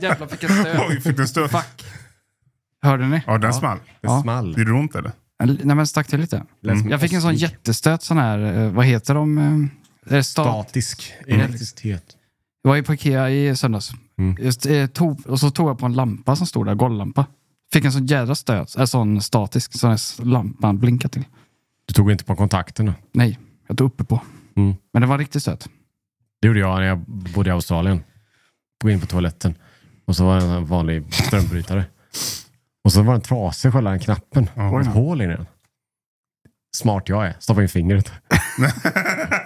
jävlar vilken stöt. Oj, fick den stöt? Fuck. Hörde ni? Ja, den small. Det Ja. small. Gjorde det ont eller? En- Nej men stack till lite. Mm. Lät som Jag fick en sån åslig. jättestöt sån här, eh, vad heter de? Eh, eh, Stat. Statisk elektricitet. Jag var ju på Ikea i söndags. Mm. Just, eh, tog, och så tog jag på en lampa som stod där, golvlampa. Fick en sån jädra stöt, en sån statisk, sån här s- lampan blinkade till. Du tog inte på kontakterna. Nej, jag tog uppe på. Mm. Men det var en riktig stöt. Det gjorde jag när jag bodde i Australien. Gå in på toaletten. Och så var det en sån här vanlig strömbrytare. Och så var den trasig, själva den knappen. Det var ett hål i den. Smart jag är. Stoppa in fingret.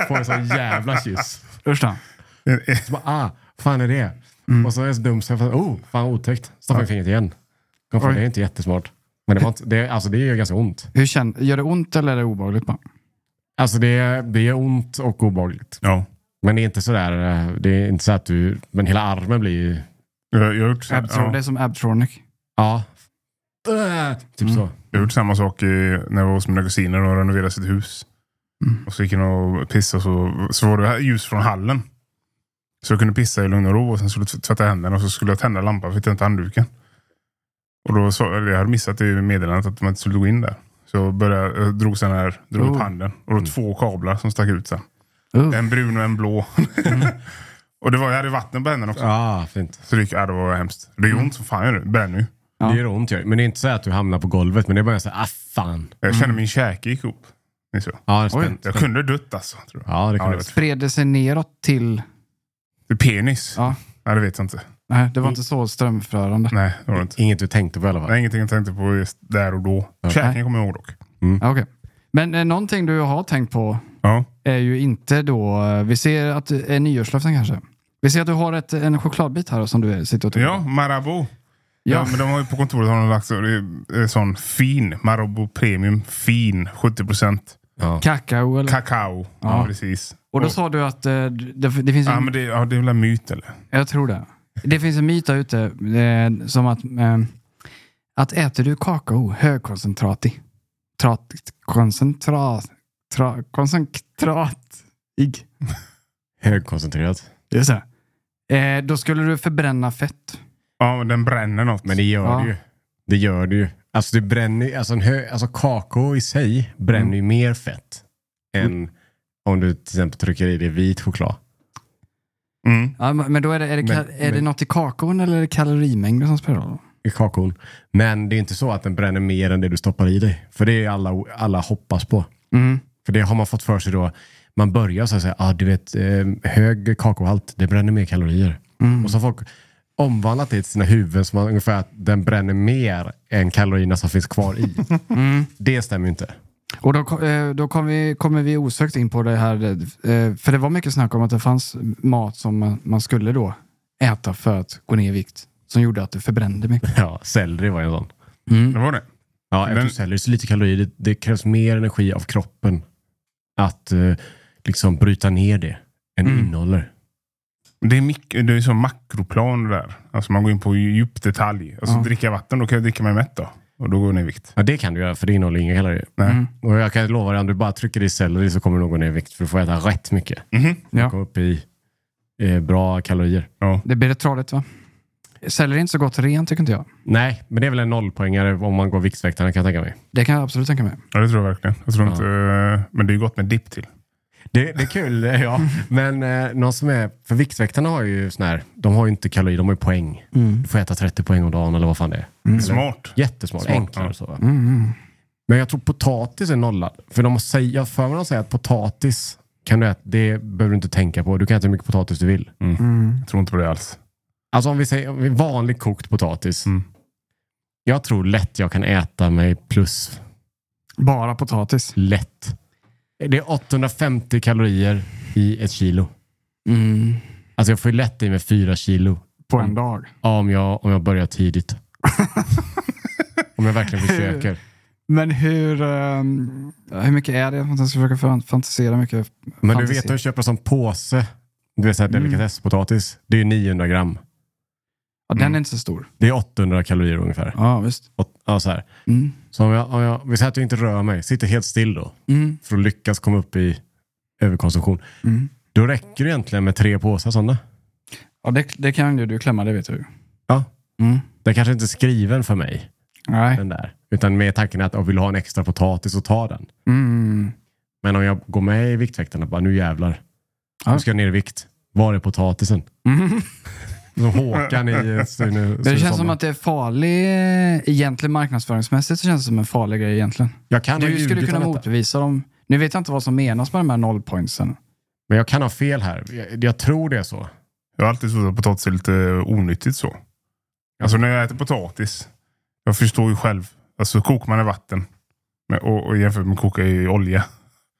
Får en sån jävla kyss. Usch då. Eh, Så bara, ah, fan är det? Och så är jag så dum så jag fattar, oh, fan otäckt. Stoppa in fingret igen. Kom på, Oj. det är inte jättesmart. Men det, var inte, det, alltså, det gör ganska ont. Hur känn, gör det ont eller är det obehagligt bara? Alltså det, det är ont och obehagligt. Ja. Men det är inte sådär, eh, det är inte så att du, men hela armen blir ju, Jag, jag, har gjort, Abtro, ja, Det är som Abtronic. ja. Äh, typ så. jag har gjort samma sak i, när jag var hos mina kusiner och renoverade sitt hus. Mm. Och så gick jag in och pissade och så, så var det här ljus från hallen. Så jag kunde pissa i lugn och ro och sen skulle jag tvätta händerna och så skulle jag tända lampan för jag inte handduken. Och då sa eller jag hade missat det i meddelandet att man inte skulle gå in där. Så jag, började, jag drog, sen här, drog Oh. upp handen och Mm. då två kablar som stack ut sen. Uh. En brun och en blå. Mm. och det var, jag hade vatten på händerna också. Ja, fint. Så det gick, ja, det var hemskt. Det gör ont som fan. gör det. Det bränner ju. Ja. Det gör ont ju. Men det är inte så att du hamnar på golvet, men det är bara så här, ah fan. Jag kände min käke gick upp. Minns jag. Ja, det är Mm. Oj, spänt. jag kunde dött alltså. Tror jag. Ja, det Ja, det kan det vara. vet Spred det sig neråt till... jag. Penis? Ja. Nej, det vet jag inte. Nej, det var inte så strömförande. Nej, det var det inte. Inget du tänkte på i alla Det är fall. ingenting jag tänkte på just där och då. Käken kommer jag ihåg dock. Ja, okej. Men eh, någonting du har tänkt på Ja. är ju inte då... eh, Vi ser att det är nyårslöften kanske. Vi ser att du har ett, en chokladbit här som du sitter och tuggar ja, på. Marabou. Ja. ja. men de har ju på kontoret har de lagt så, det är en sån fin Marabou Premium. Fin. 70% Ja. Kakao eller? kakao. Mm. Ja, precis. och då sa du att eh, det, det finns Ja, en, men det, ja, det är väl en myt eller? Jag tror det. Det finns en myt där ute eh, som att... Eh, att äter du kakao högkoncentratig... Trat, koncentrat... Tra, koncentratig. Högkoncentrerat. Det är så. här. Eh, då skulle du förbränna fett. Ja, men den bränner något. Men det gör Ja. det ju. Det gör det ju. Alltså, det bränner, alltså, en hö, alltså kakao i sig bränner ju mer fett än om du till exempel trycker i dig vit choklad. mm. Ja, men men då är det, är det, ka- Men- är det men- något i kakaon eller är det kalorimängden som spelar roll? i kakaon. Men det är inte så att den bränner mer än det du stoppar i dig. För det är alla, alla hoppas på. Mm. För det har man fått för sig då. Man börjar så här säga, ah, du vet, eh, hög kakaohalt, det bränner mer kalorier. Och så har folk omvandlat det till sina huvuden som man, ungefär att den bränner mer än kalorierna som finns kvar i. Det stämmer ju inte. Mm. Och då, ko- eh, då kom vi, kommer vi osökt in på det här, eh, för det var mycket snack om att det fanns mat som man, man skulle då äta för att gå ner i vikt, som gjorde att det förbrände mycket. Ja, selleri var ju en sån. det var det. Ja, eftersom Men- selleri är så lite kalorier, det, det krävs mer energi av kroppen att eh, liksom bryta ner det än innehåller. Det är, mik- det är som makroplan det där. Alltså man går in på djup detalj. Alltså dricka vatten, då kan jag dricka mig mätt då. Och då går det ner i vikt. Ja, det kan du göra, för det innehåller inga kalorier. Nej. Mm. Och jag kan lova dig, om du bara trycker i selleri så kommer du nog gå ner i vikt. För du får äta rätt mycket. Gå Mhm. Ja, upp i eh, bra kalorier. Ja. det blir rätt tradigt va? Selleri är inte så gott rent tycker inte jag. Nej, men det är väl en nollpoängare om man går Viktväktarna kan jag tänka mig. Det kan jag absolut tänka mig. ja, Mm. det tror jag verkligen. Jag tror inte, eh, men det är ju gott med dipp till. Det, det är kul, eh, ja. Men eh, någon som är... För Viktväktarna har ju sån här... De har ju inte kalorier, de har ju poäng. Du får äta 30 poäng om dagen eller vad fan det är. Mm. Smart. Jättesmart, Smart, enklare ja. och så. va? Men jag tror potatis är nollad. För de säger, jag har för mig att de säger att potatis kan du äta, det behöver du inte tänka på. Du kan äta hur mycket potatis du vill. mm. Jag tror inte på det alls. Alltså om vi säger om vi- vanlig kokt potatis. Mm. Jag tror lätt jag kan äta mig plus Bara potatis. lätt. Det är 850 kalorier i ett kilo. Mm. Alltså jag får ju lätt i mig fyra kilo På en dag. Ja, om jag, om jag börjar tidigt. om jag verkligen försöker. Men hur, ehm, hur mycket är det? Jag ska försöka fan- fantisera mycket. Men du Fantasi. vet att köpa som påse, du vet såhär delikatesspotatis, det är ju 900 gram. Ja, Den är inte så stor. Det är 800 kalorier ungefär. Mm. Ja, visst. Åt- Ja, så här. Mm. Så om jag, om jag, vi säger att jag inte rör mig, sitter helt still då. Mm. för att lyckas komma upp i överkonsumtion. Då räcker det egentligen med tre påsar sådana. Ja, det, det kan ju du klämma, det vet jag ju. Mm. Den kanske inte är skriven för mig, Nej. den där. Utan med tanken att jag vill ha en extra potatis så ta den. Mm. Men om jag går med i Viktväktarna, bara nu jävlar. Ja. Nu ska jag ner i vikt. Var är potatisen? Mm. Som Håkan i Sune Det känns som att det är farlig, eh, egentligen marknadsföringsmässigt så känns det som en farlig grej egentligen. jag kan ha Du skulle ljugit kunna om detta. motbevisa dem. Nu vet jag inte vad som menas med de här nollpointsen. Men jag kan ha fel här. Jag, jag tror det är så. Jag har alltid trott att potatis är lite eh, onyttigt så. Alltså när jag äter potatis. Jag förstår ju själv. Alltså kokar man i vatten. Men, och, och jämfört med att koka i olja.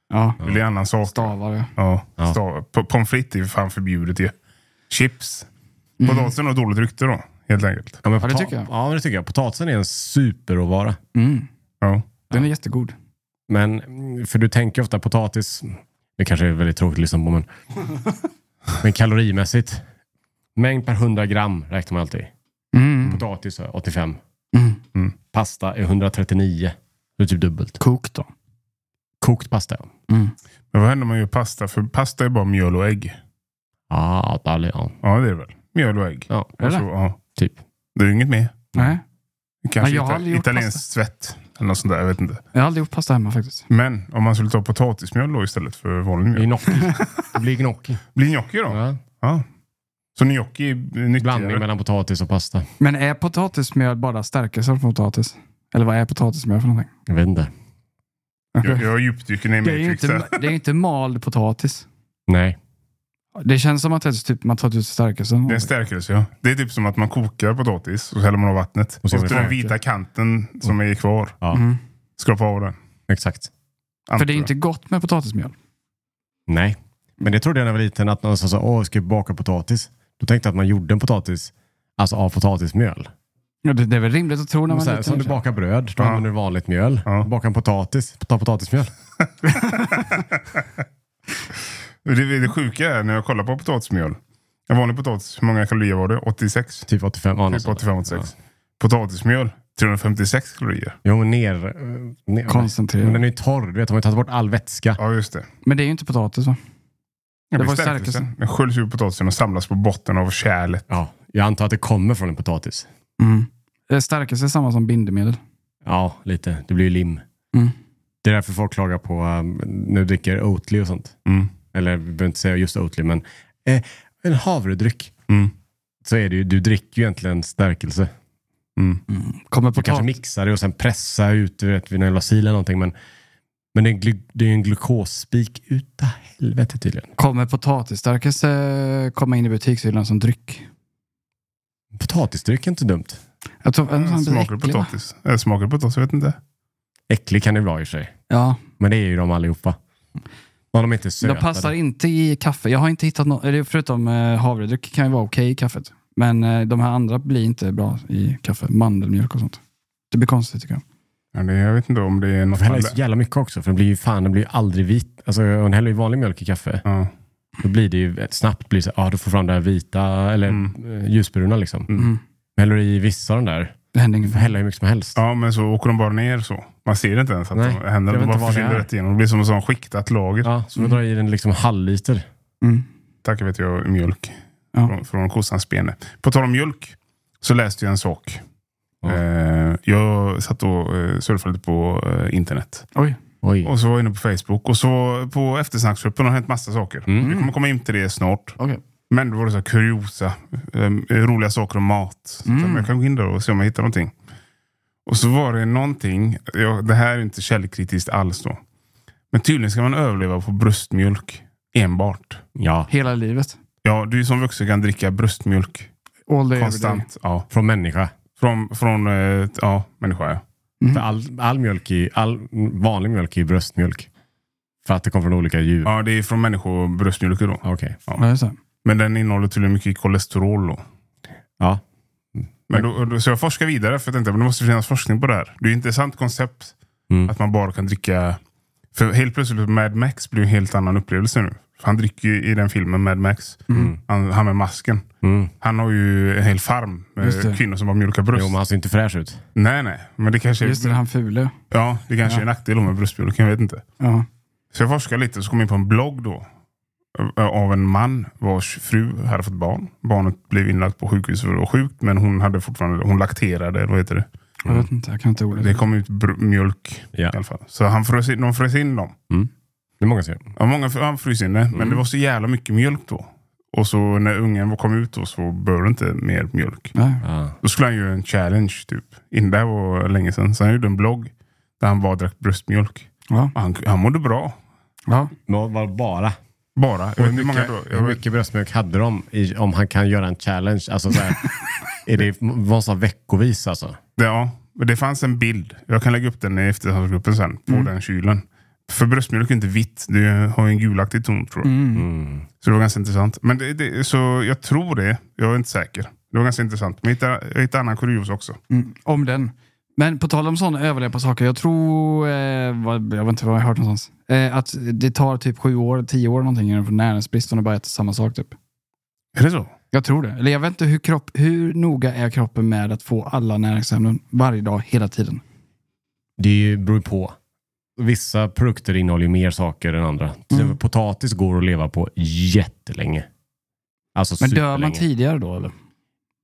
Ja, Det är en annan sak. stavar ja. Ja. Ja. Stav. P- Pommes frites är ju fan förbjudet ju. Chips. Mm. Potatisen har dåligt rykte då. Helt enkelt. Ja, men Ja, det pota- tycker jag. Ja, men det tycker jag. Potatisen är en superråvara. Mm. Ja. Den är jättegod. Men, mm, för du tänker ofta potatis, det kanske är väldigt tråkigt att lyssna på, men, men kalorimässigt. Mängd per 100 gram räknar man alltid. Mm. Potatis är 85. Mm. Pasta är 139. Det är typ dubbelt. Kok då. Kokt pasta, ja. Mm. Men vad händer om man gör pasta? För pasta är bara mjöl och ägg. Ah, dålig, ja. Ja det är det väl. Mjöl och ägg. ja. Är det? Och så, ja. Typ. Det är ju inget mer. Nej, Kanske jag har ita- aldrig gjort italiensk pasta. svett. Eller något sånt där. Jag vet inte. jag har aldrig gjort pasta hemma faktiskt. Men om man skulle ta potatismjöl då istället för vanlig Det är mjöl. gnocchi. Det blir gnocchi. Blir gnocchi då? Ja. Ja. Så gnocchi är Blandning nyttigare? mellan potatis och pasta. Men är potatismjöl bara stärkelse från potatis? Eller vad är potatismjöl för någonting? Jag vet inte. Jag, jag djupdyker ner i Det är ju Matrix inte, där. det är ju inte mald potatis. Nej. Det känns som att det är typ, man tar ut stärkelsen. Det är en stärkelse ja. Det är typ som att man kokar potatis och så häller man av vattnet. Och så så är det den stärkelse. vita kanten som är kvar. Ja, Mm. Skrapa av den. exakt. För det är Antar inte gott med potatismjöl. Nej. Men det trodde jag när jag var liten, att någon sa så, åh, ska vi baka potatis? Då tänkte jag att man gjorde en potatis, alltså av potatismjöl. Ja, det, det är väl rimligt att tro när man Så är här, liten, som du kanske. bakar bröd, då Ja. använder du vanligt mjöl. Ja. Bakar en potatis, ta potatismjöl. jag. Det, det sjuka är när jag kollar på potatismjöl. En vanlig potatis, hur många kalorier var det? 86? Typ 85. Ja, något Typ sånt. 85-86. Potatismjöl, 356 kalorier. Jo, men ner... eh, ner Koncentrerad. Men den är ju torr, du vet, de har ju tagit bort all vätska. Ja, just det. Men det är ju inte potatis va? Det, var var stärkelsen. stärkelsen. Den sköljs ur potatisen och samlas på botten av kärlet. Ja, jag antar att det kommer från en potatis. Mm. Eh, Stärkelse är samma som bindemedel. Ja, lite. Det blir ju lim. Mm. Det är därför folk klagar på um, när du dricker Oatly och sånt. Mm. Eller vi behöver inte säga just Oatly, men eh, en havredryck. Mm. Så är det ju, du dricker ju egentligen stärkelse. Mm. Kommer Du kanske potatis... mixar det och sen pressar ut du vet, vid en jävla sil eller någonting. Men, men det är en glu- det är ju en glukosspik uta helvete tydligen. Kommer potatisstärkelse komma in i butikshyllan som dryck? Potatisdryck är inte dumt. Jag tror, en sån blir Smakar det äcklig, va? potatis? Eh, Smakar det potatis? Jag vet inte. Äcklig kan det vara i och för sig. Ja, Men det är ju de allihopa. Om de inte är söta. de passar inte i kaffe. Jag har inte hittat någon, eller förutom eh, havredryck kan ju vara okej i kaffet. Men eh, de här andra blir inte bra i kaffe. Mandelmjölk och sånt. Det blir konstigt tycker jag. Ja, det, jag vet inte om det är De något... får hälla i så jävla mycket också. För den blir ju fan, den blir ju aldrig vit. Alltså om du häller i vanlig mjölk i kaffe. Ja. Då blir det ju snabbt, blir det så, ja du får fram det här vita eller Mm. mm. ljusbruna liksom. Mm. Mm. Men Häller du i vissa av de där, Det händer du får inget. hälla hur mycket som helst. Ja, men så åker de bara ner så. Man ser inte ens att Nej, de händer. jag vet De bara inte vad det försvinner är. rätt igenom. Det blir som en sån skiktat lager. Ja, så får du dra i den liksom halvliter. Mm. Tack vet jag mjölk Ja. från, från kossans bene. På tal om mjölk så läste jag en sak. Ja. Eh, jag satt och eh, surfade lite på eh, internet. Oj. Oj. Och så var jag inne på Facebook. Och så på eftersnacksgruppen har det hänt massa saker. Mm. Vi kommer komma in till det snart. Okej. Men då var det så här kuriosa, eh, roliga saker om mat. Så Mm. att Jag kan gå in där och se om jag hittar någonting. Och så var det någonting, ja, det här är inte källkritiskt alls då. Men tydligen ska man överleva på bröstmjölk enbart. Ja, Hela livet. Ja, du som vuxen kan dricka bröstmjölk All day, every day. konstant. Ja. från människa. Från, från eh, ja, människa. Ja. Mm. För all, all, mjölk i, all vanlig mjölk är ju bröstmjölk. För att det kommer från olika djur. ja, det är från människor bröstmjölk då. Okej. Ja, just det. Men den innehåller tydligen mycket kolesterol då. Ja. Men Mm. då, då, så jag forskar vidare för jag tänkte att det måste finnas forskning på det här. Det är ett intressant koncept Mm. att man bara kan dricka. För helt plötsligt Mad Max blir ju en helt annan upplevelse nu. För han dricker ju i den filmen Mad Max. Han, han med masken. Mm. Han har ju en hel farm Just det. med kvinnor som har mjölkar bröst. Jo, men han ser inte fräsch ut. Nej, nej. Men det kanske, Just det, han fule. ja, det kanske Ja. är en nackdel med bröstmjölken. Jag vet inte. Ja. Så jag forskade lite och så kom jag in på en blogg då. eh, av en man vars fru hade fått barn. Barnet blev inlagt på sjukhus för att det var sjukt, men hon hade fortfarande, hon lakterade, eller vad heter det? Jag vet inte, jag kan inte ordet. Mm. Det kom ut br- mjölk Ja. i alla fall. Så han frös in, de frös in dem. Det är många som gör. Ja, många fr- han frös in det, Mm. men det var så jävla mycket mjölk då. Och så när ungen var- kom ut då så bör det inte mer mjölk. Nej. Ah. Då skulle han göra en challenge typ. In det här var länge sedan. Så han gjorde en blogg där han bara drack bröstmjölk. Ja. Och Han, han mådde bra. Ja. Nå- Bara. bara. Bara. Jag Hur vet inte hur många mycket, dagar. hur Jag vet, mycket bröstmjölk hade de i, om han kan göra en challenge? Alltså så här, är det var så här veckovis alltså? det, ja, men det fanns en bild. Jag kan lägga upp den i efterhandsgruppen sen. På den kylen. För bröstmjölk är inte vitt. Det har ju en gulaktig ton tror jag. Så det var ganska intressant. Men det, det, så jag tror det. Jag är inte säker. Det var ganska intressant. Men jag hittade, jag hittade annan kurios också. Mm, om den. Men på tal om sådana överleva saker, jag tror, eh, vad, jag vet inte vad jag har hört någonstans, eh, att det tar typ sju år, tio år någonting innan du får näringsbrist om du bara äter samma sak typ. Är det så? Jag tror det. Eller jag vet inte hur, kropp, hur noga är kroppen med att få alla näringsämnen varje dag, hela tiden. Det är ju- beror ju på. Vissa produkter innehåller ju mer saker än andra. Till exempel Mm. potatis går att leva på jättelänge. Alltså Men dör man superlänge. tidigare då eller?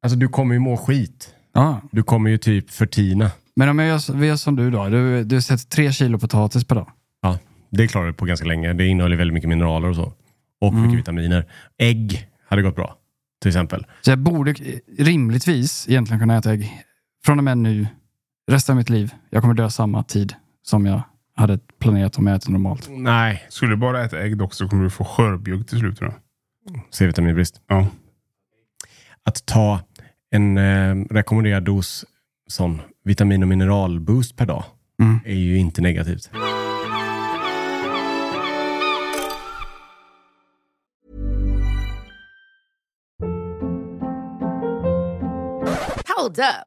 Alltså du kommer ju må skit. Ja. Du kommer ju typ förtina. Men om jag gör, så- vi gör som du då, du, du sätter tre kilo potatis per dag. Ja, det klarar du på ganska länge. Det innehåller väldigt mycket mineraler och så. Och mycket vitaminer. Ägg hade gått bra. Till exempel. Så jag borde eh, rimligtvis egentligen kunna äta ägg från och med nu, resten av mitt liv. Jag kommer dö samma tid som jag hade planerat om jag äter normalt. Nej, Skulle du bara äta ägg dock så kommer du få skörbjugg till slut. tror jag. C-vitaminbrist. Ja. Att ta en eh, rekommenderad dos sån vitamin och mineralboost per dag Mm. är ju inte negativt. Hold up.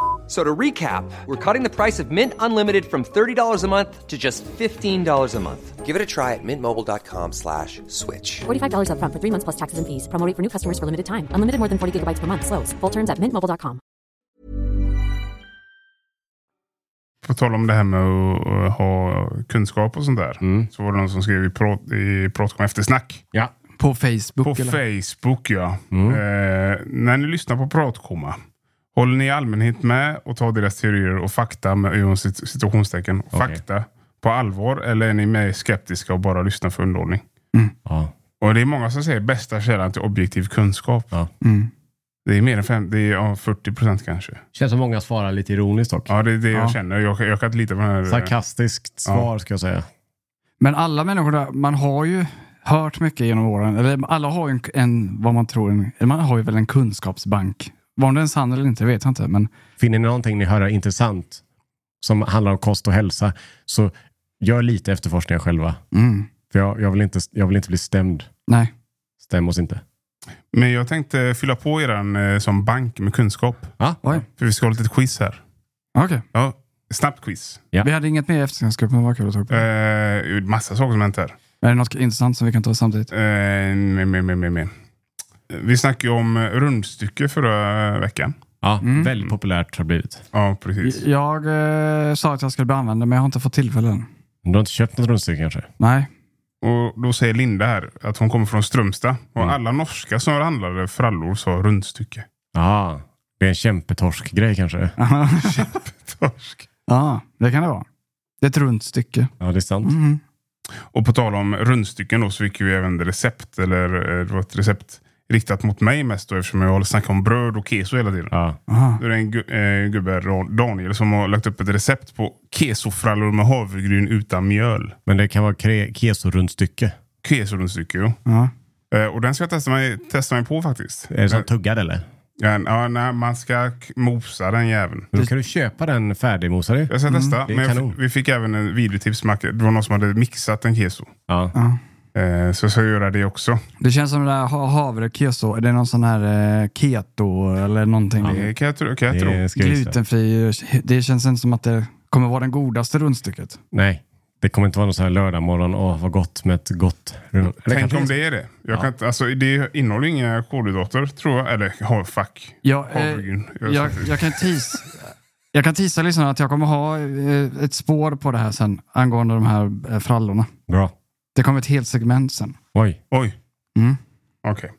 So to recap, we're cutting the price of Mint Unlimited from $30 a month to just $15 a month. Give it a try at mintmobile.com slash switch. $45 up front for three months plus taxes and fees. Promo rate for new customers for limited time. Unlimited more than 40 gigabytes per month. Slows. Full terms at mintmobile.com. På tal om det här med att eh, ha kunskap och sånt där. Så var det någon som skrev i, prat, i Pratkom eftersnack. Ja. På Facebook? På eller? Mm. Facebook ja. Eh, när ni lyssnar på Pratkomma. Håller ni i allmänhet med och tar deras teorier och fakta med inom cit- citationstecken, fakta på allvar? Eller är ni mer skeptiska och bara lyssnar för underhållning? ja. Och det är många som säger bästa källan till objektiv kunskap. Ja. Mm. Det är mer än fem, det är ja, 40 procent kanske. Känns som många svarar lite ironiskt dock. Ja, det är det Ja. jag känner. Jag, jag kan inte lita på den här. eh, Sarkastiskt svar ska jag säga. Men alla människor, där, man har ju hört mycket genom åren. Eller alla har ju en, en vad man tror, en, eller man har ju väl en kunskapsbank. Var om den är sann eller inte vet jag inte. Men Finner ni någonting ni hör är intressant som handlar om kost och hälsa så gör lite efterforskningar själva. mm, För jag, jag, vill, inte, jag vill inte bli stämd. nej. Stäm oss inte. Men jag tänkte fylla på eran eh, som bank med kunskap. Ja. Oj. För vi ska ha lite quiz här. Okej. Ja, snabbt quiz. Ja. Vi hade inget mer i eftersnacksgruppen, men vad kul att ta upp. Är Eh, massa saker som hänt här. det något intressant som vi kan ta samtidigt? Eh, med, med, med, med, med. Vi snackade ju om eh, rundstycke förra veckan. Ja, Mm. Väldigt populärt har det blivit. Ja, precis. Jag eh, sa att jag skulle börja använda men jag har inte fått tillfälle än. Du har inte köpt något rundstycke kanske? Nej. Och då säger Linda här att hon kommer från Strömstad. Och alla norska som handlade frallor sa rundstycke. Ja, det är en kämpetorsk-grej kanske. Ah. Torsk. Ja, det kan det vara. Det är ett runt stycke. Ja, det är sant. Mm. Och på tal om rundstycken då, så fick vi även recept, eller eh, det var ett recept riktat mot mig mest då, eftersom jag håller snackat om bröd och keso hela tiden. Ja. Aha. Då är det en gu- eh, gubbe, Ra- Daniel, som har lagt upp ett recept på kesofrallor med havregryn utan mjöl. Men det kan vara kre- keso-rundstycke. Kesorundstycke, jo. Ja. Eh, Och den ska jag testa mig, testa mig på faktiskt. Är det som Eh, tuggad eller? den- ja, nej, man ska k- mosa den jäveln. Då kan du köpa den färdigmosade. Jag ska testa. Mm, det är Men jag, kanon. f- vi fick även en videotips. Macke. Det var någon som hade mixat en keso. Ja. Ja. Eh, Så jag ska göra det också. Det känns som det där ha- havre keso. Är det någon sån här eh, keto eller någonting? Det kan jag tro. Kan jag tro. Det ska jag gissa. Glutenfri. Det känns inte som att det kommer vara den godaste rundstycket. Nej, det kommer inte vara någon sån här lördagmorgon. Åh, vad gott med ett gott rum. Eller Tänk kanske om det är det. Jag Ja. kan inte, alltså, det innehåller inga kolhydrater tror jag. Eller oh, fuck. Jag, eh, Havregryn. Jag- jag, jag kan tisa, jag kan tisa lyssnarna att jag kommer ha eh, ett spår på det här sen angående de här eh, frallorna. Bra. Det kommer ett helt segment sen. Oj. Oj. Mm. Okej.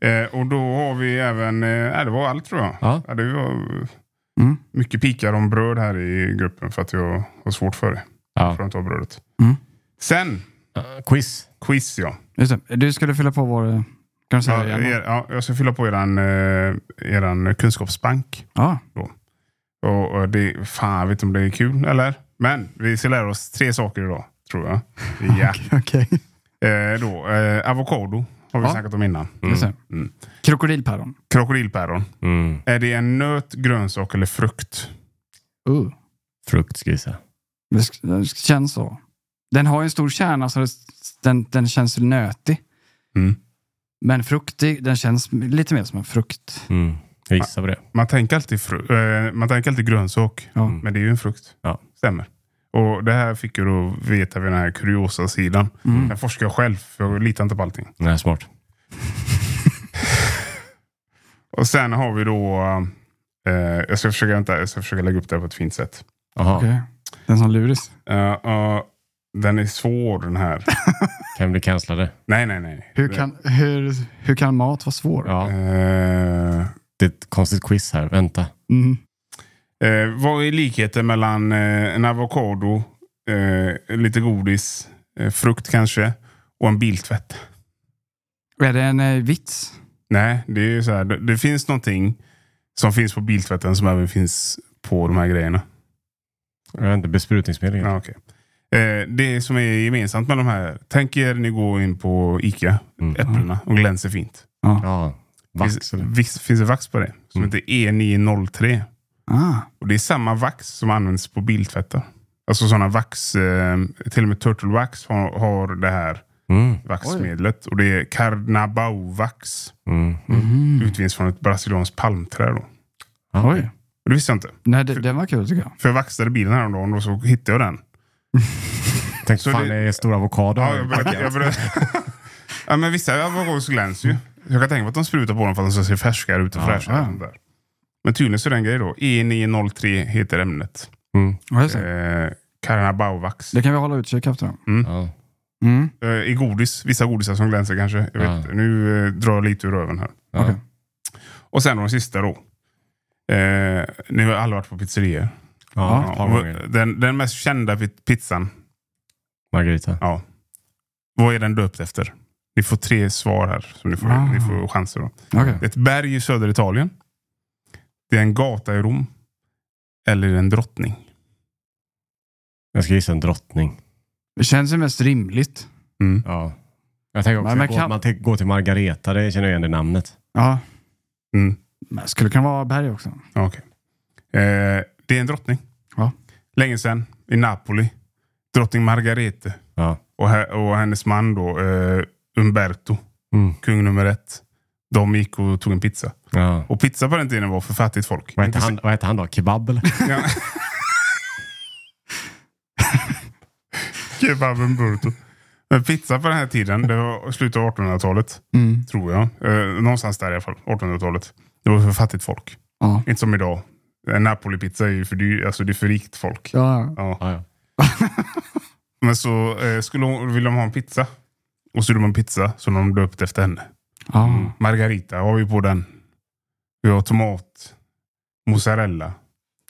Eh, och då har vi även, eh, ja, det var allt tror jag. Ja. det var Mm. mycket pikar om bröd här i gruppen för att jag har svårt för det. Ja. För att ta brödet. Mm. Sen, Eh, quiz. quiz ja. Just det. Du skulle fylla på vår... eh, Kan du säga Ja, det igen? er, ja, jag ska fylla på eran, eh, eran kunskapsbank. Ja. Och, och det, fan, jag vet inte om det är kul eller? Men vi ska lära oss tre saker idag, tror jag. Ja. Okej. eh, då, eh, avokado har vi Ja. snackat om innan. Just det. Mm. Krokodilpäron. Krokodilpäron. Mm. Är det en nöt, grönsak eller frukt? Uh. Frukt ska jag gissa. Det sk- det känns så. Den har ju en stor kärna så det, den, den känns nötig. Mm. Men fruktig, den känns lite mer som en frukt. Mm. Jag gissar på det. Man tänker alltid, fru- eh, man tänker alltid grönsak, Ja. men det är ju en frukt. Ja. Stämmer. Och Det här fick jag då veta vid den här kuriosa sidan. Mm. Den forskar jag själv, för jag litar inte på allting. Nej, smart. Och Sen har vi då... Eh, jag, ska försöka, vänta, jag ska försöka lägga upp det här på ett fint sätt. Jaha, Okej. Den som luris. Eh, eh, den är svår den här. kan bli cancellade. nej, nej, nej. Hur kan, hur, hur kan mat vara svår? Ja, Eh, det är ett konstigt quiz här. Vänta. Mm. eh, vad är likheten mellan eh, en avokado, eh, lite godis, eh, frukt kanske och en biltvätt? Är det en eh, vits? Nej, det är ju så här. Det, det finns någonting som finns på biltvätten som även finns på de här grejerna. Jag vet inte, besprutningsmedel. Ja, okej. eh, det som är gemensamt med de här. Tänk er ni går in på Ica, Mm. äpplena, och glänser fint. Ja, vax finns, eller? vis, finns det vax på det som Mm. heter E E903. Ah. Och Det är samma vax som används på biltvättar. Alltså sådana vax, eh, till och med Turtle Wax har, har det här Mm. vaxmedlet. Och det är Carnabauvax. Mm. Mm. Utvinns från ett brasilianskt palmträd. Då. Ja, Oj. Och det visste jag inte. Nej, det, den var kul tycker jag. För jag vaxade bilen häromdagen och så hittade jag den. Tänk Så fan det- det är stora avokado. Ja, jag här. började, jag började. ja, men vissa avocados glänser ju. Jag kan tänka mig att de sprutar på dem för att de ska se färskare ut och Ja, fräschare. ja. och sånt Där. Men tydligen så är det en grej då. E E903 heter ämnet. Mm. Ja, just det. Eh, Carnabauvax. Det kan vi hålla utkik efter. då. Ja. Mm. Eh, I godis. Vissa godisar som glänser kanske. Jag vet, Ja. inte. Nu eh, drar jag lite ur röven här. Ja. Okej. Och sen de sista då. Eh, ni har alla varit på pizzerior. Ja, ett par och gånger. den, den mest kända pit- pizzan. Margarita. Ja. Vad är den döpt efter? Ni får tre svar här. Så ni får, Ah. ni får chanser då. Okej. Det är ett berg i södra Italien. Det är en gata i Rom. Eller en drottning. Jag ska gissa en drottning. Det känns ju mest rimligt. Mm. Ja. Jag tänker också, Men man man, kan- man tänker gå till Margareta, det känner jag igen det namnet. Ja. Mm. Men skulle kunna vara berg också. Ja, okej. Eh, det är en drottning. Ja. Länge sedan i Napoli. Drottning Margarete Ja. och, he- och hennes man då, eh, Umberto, Mm. kung nummer ett. De gick och tog en pizza. ja. Och pizza på den tiden var för fattigt folk. Vad, hette han, vad hette han då? Kebab eller? Ja. Kebab Umberto. Men pizza på den här tiden, det var slutet av 1800-talet. Mm. Tror jag. Eh, någonstans där i alla fall. 1800-talet. Det var för fattigt folk. Ja. Inte som idag. En Napoli-pizza är ju för dyr, alltså det är för rikt folk. Ja. Ja. Ja, ja. Men så eh, skulle hon, ville de ha en pizza. Och så gjorde man pizza som de döpte efter henne. ja. Mm. Margarita har vi på den. Vi har tomat, mozzarella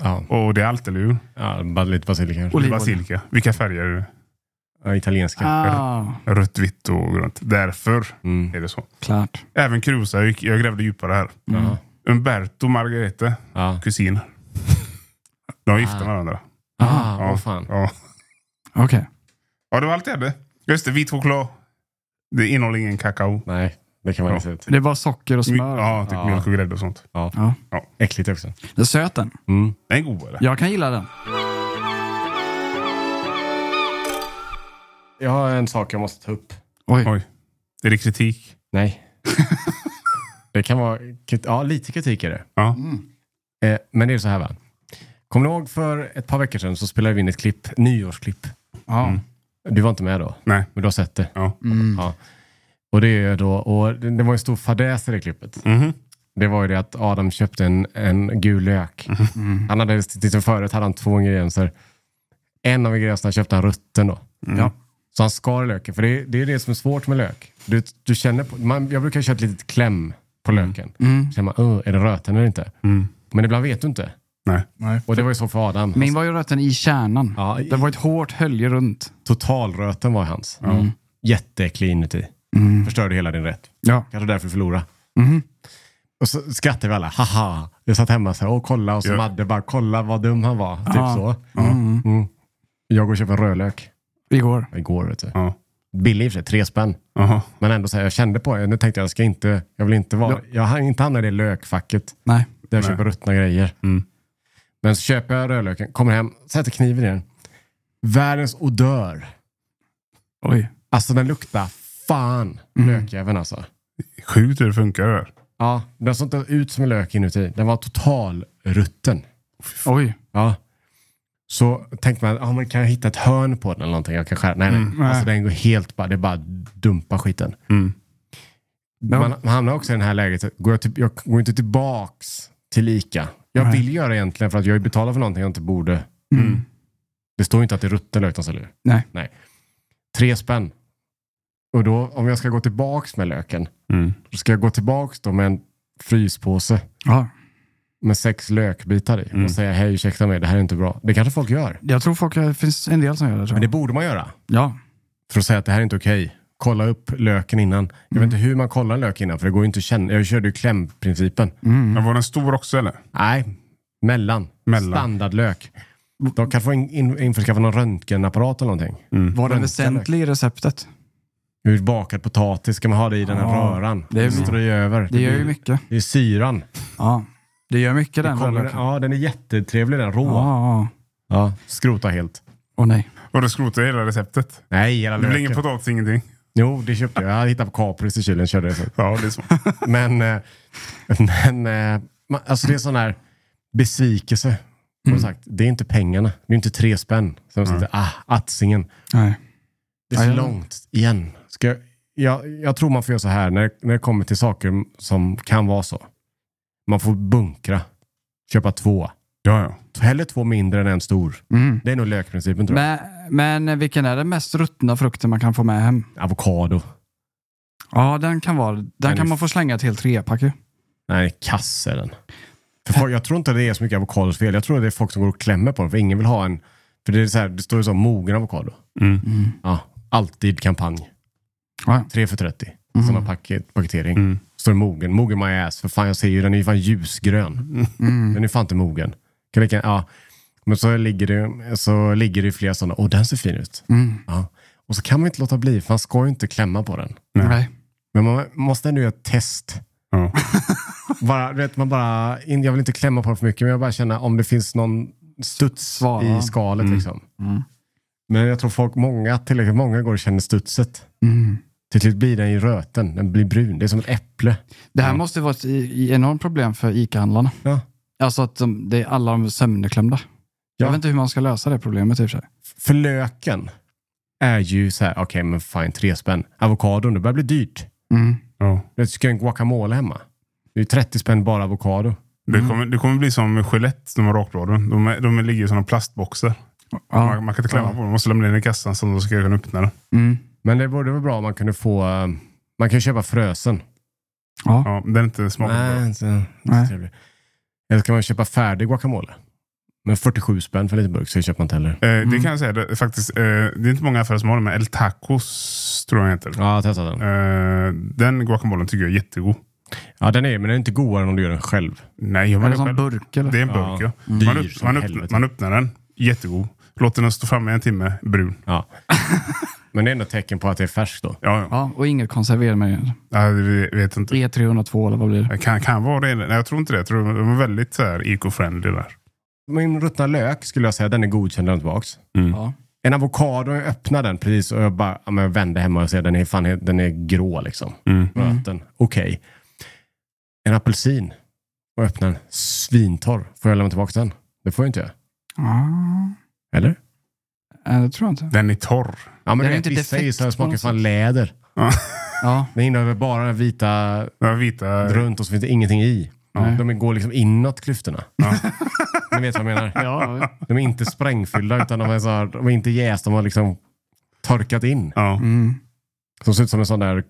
ja. och det är allt, eller hur? ja bara lite basilika kanske. Olivolja. Basilika. Vilka färger är det? Ja, italienska. Ah, Rött, vitt och grönt. Därför Mm. är det så. klart. Även Cruza, jag, gick- jag grävde djupare här. Ja. Umberto och Margarete, Ja. kusiner. De är gifta med varandra. Ah, Ja. vad fan. Ja. Okej. ja, det var allt jag hade. Just det, vit choklad. Det innehåller ingen kakao. Nej, det kan man Ja. inte säga. Det är bara socker och My- smör. Ja, typ Ja. mjölk och grädde och sånt. Ja. Äckligt också. Den är söt den. Mm. Den är god eller? Jag kan gilla den. Jag har en sak jag måste ta upp. Oj. Oj. Är det kritik? Nej. det kan vara... krit- Ja, lite kritik är det. Ja. Eh, men det är så här va. Kommer ni ihåg för ett par veckor sedan så spelade vi in ett klipp, nyårsklipp. Ja. Du var inte med då, Nej. men du har sett det. Ja. Ja. Och det är då, och det det var en stor fadäs i det klippet. Mhm. Det var ju det att Adam köpte en, en gul lök. Han hade, till sin förrätt hade han två ingredienser. En av ingredienserna köpte han rutten då. Ja. Så han skar löken, för det, är- det är det som är svårt med lök. Du, du känner på, man, jag brukar köra ett litet kläm på löken. Känner man, "Åh, är den röten eller inte? Men ibland vet du inte. Nej. Och det var ju så för Adam. Min var ju röten i kärnan. Ja, i- Det var ett hårt hölje runt. Totalröten var hans. Jätteäcklig inuti. Förstörde hela din rätt. Ja. Kanske därför förlora. Och så skrattade vi alla. Haha. Jag satt hemma så här, och kolla och så Ja. Madde bara, kolla vad dum han var. Typ så. Mm. Jag går och köper en rödlök. Igår. Igår vet du. Ja. Billig i och för sig, tre spänn. Jaha. Men ändå så här, jag kände på det. Nu tänkte jag, jag ska inte, jag vill inte vara, jag hann inte hamna i det lökfacket. Nej. Där jag Nej. köper ruttna grejer. Mm. Men så köper jag rödlöken, kommer hem, sätter kniven i den. Världens odör. Oj. Alltså den luktar fan Mm. lökjäveln alltså. Sjukt hur det funkar det där. Ja, den såg inte ut som en lök inuti. Den var totalrutten. Oj. Ja. Så tänkte man, ah, men kan jag hitta ett hörn på den eller någonting? Jag kan skära. Nej, nej. Alltså den går helt bara, det är bara dumpa skiten. Mm. Man, man hamnar också i det här läget, går jag, typ, jag går inte tillbaks till lika. Jag vill göra det egentligen för att jag betalar för någonting jag inte borde. Mm. Det står ju inte att det är rutten lök de säljer. Nej. nej. Tre spänn. Och då, om jag ska gå tillbaks med löken, Mm. då ska jag gå tillbaks då med en fryspåse Ja. med sex lökbitar i och säga hej, ursäkta mig, det här är inte bra. Det kanske folk gör. Jag tror folk, det finns en del som gör det. Tror Men det jag. borde man göra. Ja. För att säga att det här är inte okej. Kolla upp löken innan. Jag vet inte hur man kollar en lök innan, för det går ju inte att känna. Jag körde ju klämprincipen. Men var den stor också eller? Nej, mellan. Mm. Mellan. Standardlök. De kan få in, in, införskaffa någon röntgenapparat eller någonting. Var den Röntgen- väsentlig i receptet? Hur bakad potatis ska man ha det i den här Ja, röran? det är- Det ströjer över. Det gör ju blir- mycket. Det är syran. Ja. Det gör mycket Det den kommer, rödlöken. ja, den är jättetrevlig den, rå. Ja. Ja. skrota helt. Åh nej. Var det skrotat hela receptet? Nej, hela Det blir löken. ingen potatis, ingenting. Jo, det köpte jag. Jag hade hittat på kapris i kylen körde det. Så. Ja, det är så. Men, eh, men eh, man- alltså det är sån här besvikelse. Som Mm. sagt, det är inte pengarna. Det är inte tre spänn. Så man sitter, ah, attsingen. Nej. Det är så Ja, ja. långt igen. Ska jag, jag, jag tror man får göra så här när, när det kommer till saker som kan vara så. Man får bunkra. Köpa två. Ja, ja. Hellre två mindre än en stor. Mm. Det är nog lökprincipen tror jag. Men, men vilken är den mest ruttna frukten man kan få med hem? Avokado. Ja, den kan vara. Den, Den är kan man få slänga ett helt trepack ju. Nej, kass är den. För folk, jag tror inte det är så mycket avokados fel. Jag tror det är folk som går och klämmer på den. För ingen vill ha en... För det, är så här, det står ju så mogen avokado. Mm. Ja, alltid kampanj. Ja. 3 för 30. Sådana paket, paketering. Mm. Står det mogen. Mogen my ass. För fan jag ser ju, den är ju fan ljusgrön. Den är fan inte mogen. Kan lika, ja. Men så ligger det så ligger det ju flera sådana. Åh, den ser fin ut. Ja. Och så kan man ju inte låta bli, för man ska ju inte klämma på den. Nej. Men man måste ändå göra ett test. Ja. Bara, du vet, man bara, in- jag vill inte klämma på det för mycket, men jag bara känner om det finns någon studs Svar, i va? skalet. Liksom. Men jag tror folk, många, tillräckligt många går och känner studset. Till slut blir den ju röten, den blir brun. Det är som ett äpple. Det här måste vara ett i- i- enormt problem för ICA-handlarna. Ja. Alltså att de, det är alla de är sömneklämda. Jag Ja. vet inte hur man ska lösa det problemet i och för sig. För löken är ju så här, okej men fine, tre spänn. Avokadon, det börjar bli dyrt. ja. Du vet, ska jag ha en guacamole hemma? Det är ju 30 spänn bara avokado. Det, kommer, det kommer bli som med Gillette, de här rakbladen. De, är- de ligger i sådana plastboxar. Mm. Man, man kan inte klämma på dem. Man måste lämna in i kassan så de ska kunna öppna den. Men det vore väl bra om man kunde få, eh, man kan ju köpa frösen. Ja, den är inte smakbar. Nej, inte, inte så trevlig. Eller ska man köpa färdig guacamole? Men 47 spänn för en liten burk, så det köper man inte heller. Eh, Mm. det kan jag säga. Det, är faktiskt, eh, det är inte många affärer som har den, men El Tacos tror jag den heter. Ja, jag har testat den. Eh, den guacamolen tycker jag är jättegod. Ja, den är men den är inte godare än om du gör den själv. Nej, gör Är man det det som själv? burk eller? Det är en burk, ja. Ja. Man, Dyr upp, som man, upp, helvete. man öppnar den, jättegod. Låter den stå framme i en timme, brun. Ja. Men det är ändå tecken på att det är färskt då. Ja, ja. Ja, och inget konservermedel. Nej, vi vet inte. E302 eller vad blir det? Det kan, kan vara det. Nej, jag tror inte det. Jag tror de är väldigt så här, eco-friendly där. Min ruttna lök skulle jag säga, den är godkänd där tillbaks. Ja. En avokado, jag öppnar den precis och jag bara ja, men jag vände hemma och ser den är, fan, helt- den är grå liksom. Mm. Röten. Okej. En apelsin och öppnar den. Svintorr. Får jag lämna tillbaka den? Det får jag inte göra. Ah, Eller? nej, det tror jag inte. Den är torr. Ja, Den men är det är inte inte vissa defekt är så här, på smakar något fan läder. Ja, Den innehåller bara den vita Den har vita... runt och så finns det ingenting i. Nej. De går liksom inåt klyftorna. Ni vet vad jag menar? ja, De är inte sprängfyllda utan de är, så här, de är inte jäst, de har liksom torkat in. Ja. mm. De ser ut som en sån där eh,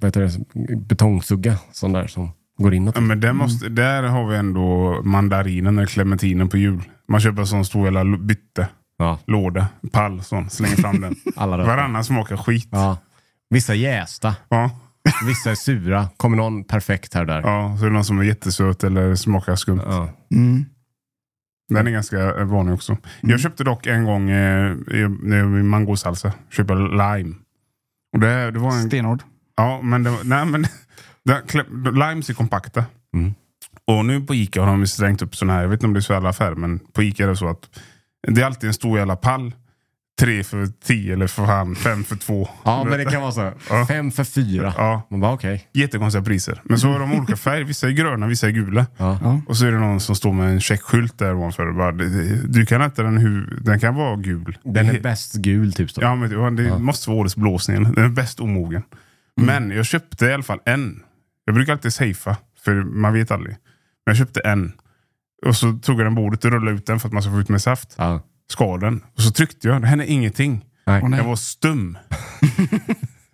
vad heter det, betongsugga. Sån där som går inåt. Ja, Men där, måste, där har vi ändå mandarinen eller clementinen på jul. Man köper en sån stor jävla lo- bytte. Ja, Låda. Pall. Sån. Slänger fram den. alla röda. Varannan smakar skit. Ja. Ja. Vissa är jästa, Ja. vissa är sura. Kommer någon perfekt här och där. så är det någon som är jättesöt eller smakar skumt. Ja. Mm. Den är ganska eh, vanlig också. Mm. Jag köpte dock en gång eh, jag- när jag gjorde min mangosalsa. Köpte lime. Och det, det var en Stenhård. Ja, men det, var- nej, men, det, klä- limes är kompakta. Mm. Och nu på Ica har de ju slängt upp sådana här, jag vet inte om det är så i alla affärer, men på Ica är det så att det är alltid en stor jävla pall. Tre för tio eller för fan, fem för två. ja, men det kan vara så. Ja. Fem för fyra. Ja, Man bara okej. jättekonstiga priser. Men så har de olika färger, vissa är gröna, vissa är gula. Ja. Ja. Och så är det någon som står med en checkskylt där ovanför och bara, "Det- det- du kan äta den hur, den kan vara gul. Den Det- är bäst gul typ. Då. Ja, men det- det måste vara årets blåsning. Den är bäst omogen. Mm. Men jag köpte i alla fall en. Jag brukar alltid safea, för man vet aldrig. Men jag köpte en. Och så tog jag den bordet och rullade ut den för att man ska få ut med saft. Ja. Skar den. Och så tryckte jag. Det hände ingenting. Nej. Åh, nej. Jag var stum.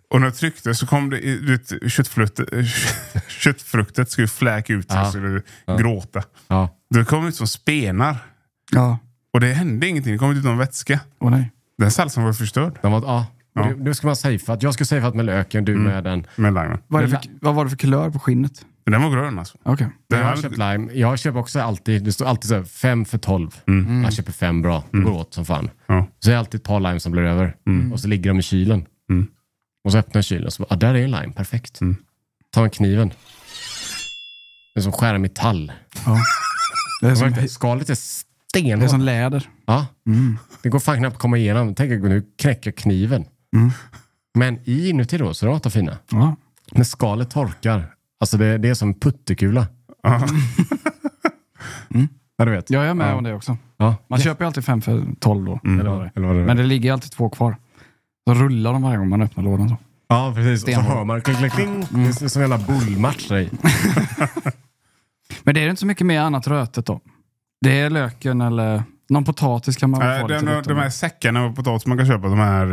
och när jag tryckte så kom det i- du vet, köttflöte, köttfruktet skulle fläka ut sig. Ja. Jag skulle gråta. Ja. Det kom ut som spenar. Ja, Och det hände ingenting. Det kom inte ut någon vätska. åh nej. Den salsan var förstörd Den var, ja. Ja. Nu- Nu ska man safeat. Jag ska safeat med löken, du med den. med limen. Vad, är det för, vad var det för kulör på skinnet? Den var grön alltså. Okej. Det jag har här- köpt lime. Jag köper också alltid, det står alltid så här, fem för tolv. Jag köper fem bra. Det går åt som fan. Ja. Så är det alltid ett par lime som blir över. Och så ligger de i kylen. Mm. Och så öppnar jag kylen och så bara, ah, där är en lime, perfekt. Mm. Ta en kniven. Det är som att skära metall. Ja. Det, är Det är som, som- Skalet är det är stenhårt. som läder. Ja, Mm. det går fan knappt att komma igenom. Tänk, nu knäcker jag kniven. Mm. Men i inuti då, så är de åtta fina. Ja. När skalet torkar, alltså det, det är som en puttekula. Mm. Ja. Ja, du vet. Jag är med om det också. Ja. Mm. Man köper ju alltid fem för 12 då. Eller vad det är. Eller vad det är. Men det ligger ju alltid två kvar. Så rullar de varje gång man öppnar lådan. Så. Ja, precis. Och så Stenhård. hör man kling, kling, kling. Det är som en jävla bullmatch. där i. Men det är ju inte så mycket mer annat rötet då. Det är löken eller någon potatis kan man väl Äh, få de, lite de här säckarna av potatis man kan köpa, de här,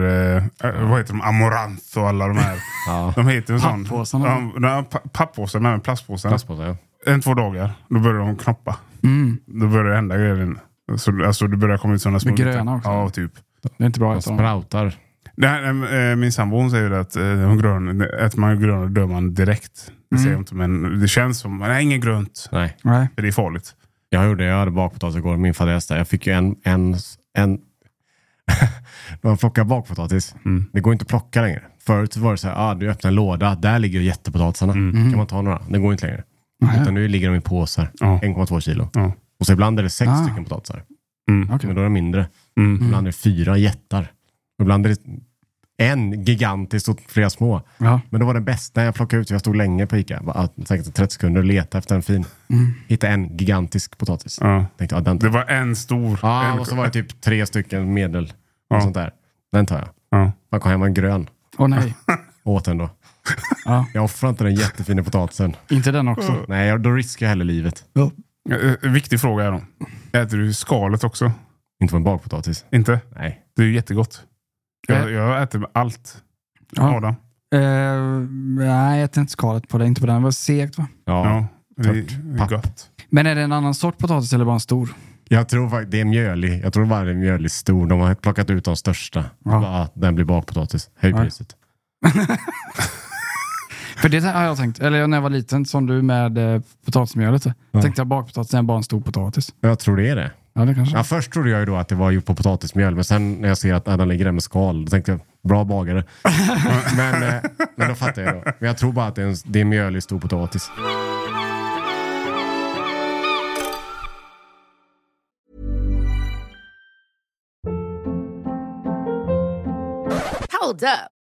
eh, vad heter de, Amaranth och alla de här. Ja. De heter ju sån. Papppåsarna. Ja, de- pa- Papppåsarna, men plastpåsarna. Plastpåse, ja. En, två dagar, då börjar de knoppa. Mm. Då börjar det hända grejer. inne. Så, alltså, det börjar komma ut sådana små... gröna också. Ja, typ. Det är inte bra De att äta dem. sproutar. Det här, eh, min sambo hon säger att eh, hon grön, äter man grön dör man direkt. Det Mm. säger hon inte, men det känns som, nej, inget grönt. Nej. Nej. För det är farligt. Jag gjorde det. Jag hade bakpotatis igår. Min fadäs där. Jag fick ju en... en, en när man plockar bakpotatis, Mm. det går inte att plocka längre. Förut så var det så här, ah, du öppnar en låda, där ligger jättepotatisarna. Mm. Kan man ta några? Det går inte längre. Utan nu ligger de i påsar, Ja. 1,2 kilo. Ja. Och så ibland är det sex Ah. stycken potatisar. Mm. Okej. Men då är de mindre. Mm. Ibland är det fyra jättar. Ibland är det en gigantisk och flera små. Ja. Men då var den bästa jag plockade ut. Jag stod länge på Ica, bara, ah, säkert 30 sekunder och letade efter en fin. Hittade en gigantisk potatis. Mm. Ja. Tänkte, ah, den tar Det jag. var en stor. Ja, en, och så var det typ tre stycken medel. Och sånt där. Den tar jag. ja. Man kom hem med en grön. Åh nej, Och åt den då. Ja. Jag offrar inte den jättefina potatisen. inte den också. Nej, jag- då riskar jag hellre livet. Eh, eh, Viktig fråga är då. Äter du skalet också? Inte på en bakpotatis. Inte? Nej. Det är ju jättegott. Jag, Eh. jag äter med allt. Ja. Adam. Eh, nej, jag äter inte skalet på det. Inte på den. Det var segt va? Ja. Ja. Det är Tört det är papp. gott. Men är det en annan sort potatis eller bara en stor? Jag tror faktiskt det är mjölig. Jag tror bara det är mjölig stor. De har plockat ut de största. Ja. Bara, ah, den blir bakpotatis. Höj Ja. priset. För det har jag tänkt. Eller när jag var liten, som du med eh, potatismjölet. Ja. Tänkte jag bakpotatis är bara en stor potatis. Jag tror det är det. Ja, det kanske. Ja, först trodde jag ju då att det var gjort på potatismjöl, men sen när jag ser att ah, den ligger där med skal, då tänkte jag Bra bagare. men, eh, men då fattar jag då. Men jag tror bara att det är, en, det är mjölig stor potatis. Hold up.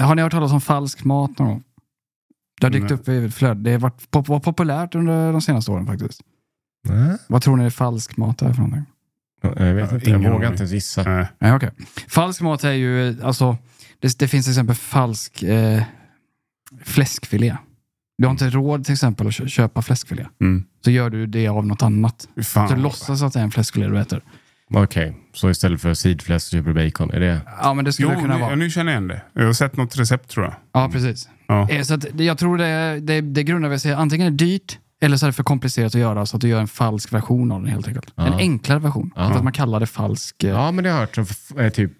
Har ni hört talas om falsk mat någon gång? Det har dykt Nej. upp i ett flöde. Det har varit pop- var populärt under de senaste åren faktiskt. Nej. Vad tror ni är falsk mat är för någonting? Jag vet Ja, inte, jag ingen vågar aning. inte ens gissa. Nej. Nej, okej. Falsk mat är ju, eh, alltså, det, det finns till exempel falsk eh, fläskfilé. Du har inte råd till exempel att kö- köpa fläskfilé. Mm. Ah. Så gör du det av något annat. Fy Fan. Så du låtsas att det är en fläskfilé du äter. Okej, så istället för sidfläsk så köper du bacon. Är det... Ja, men det Jo, skulle kunna nu, vara. nu känner jag igen det. Jag har sett något recept tror jag. Ja, precis. Ja. Eh, Så att, det- jag tror det, det, det grundar väl sig antingen är det dyrt eller så är det för komplicerat att göra så att du gör en falsk version av den helt enkelt. En enklare version. För att man kallar det falsk. eh, Ja, men det har jag hört. som f- eh, Typ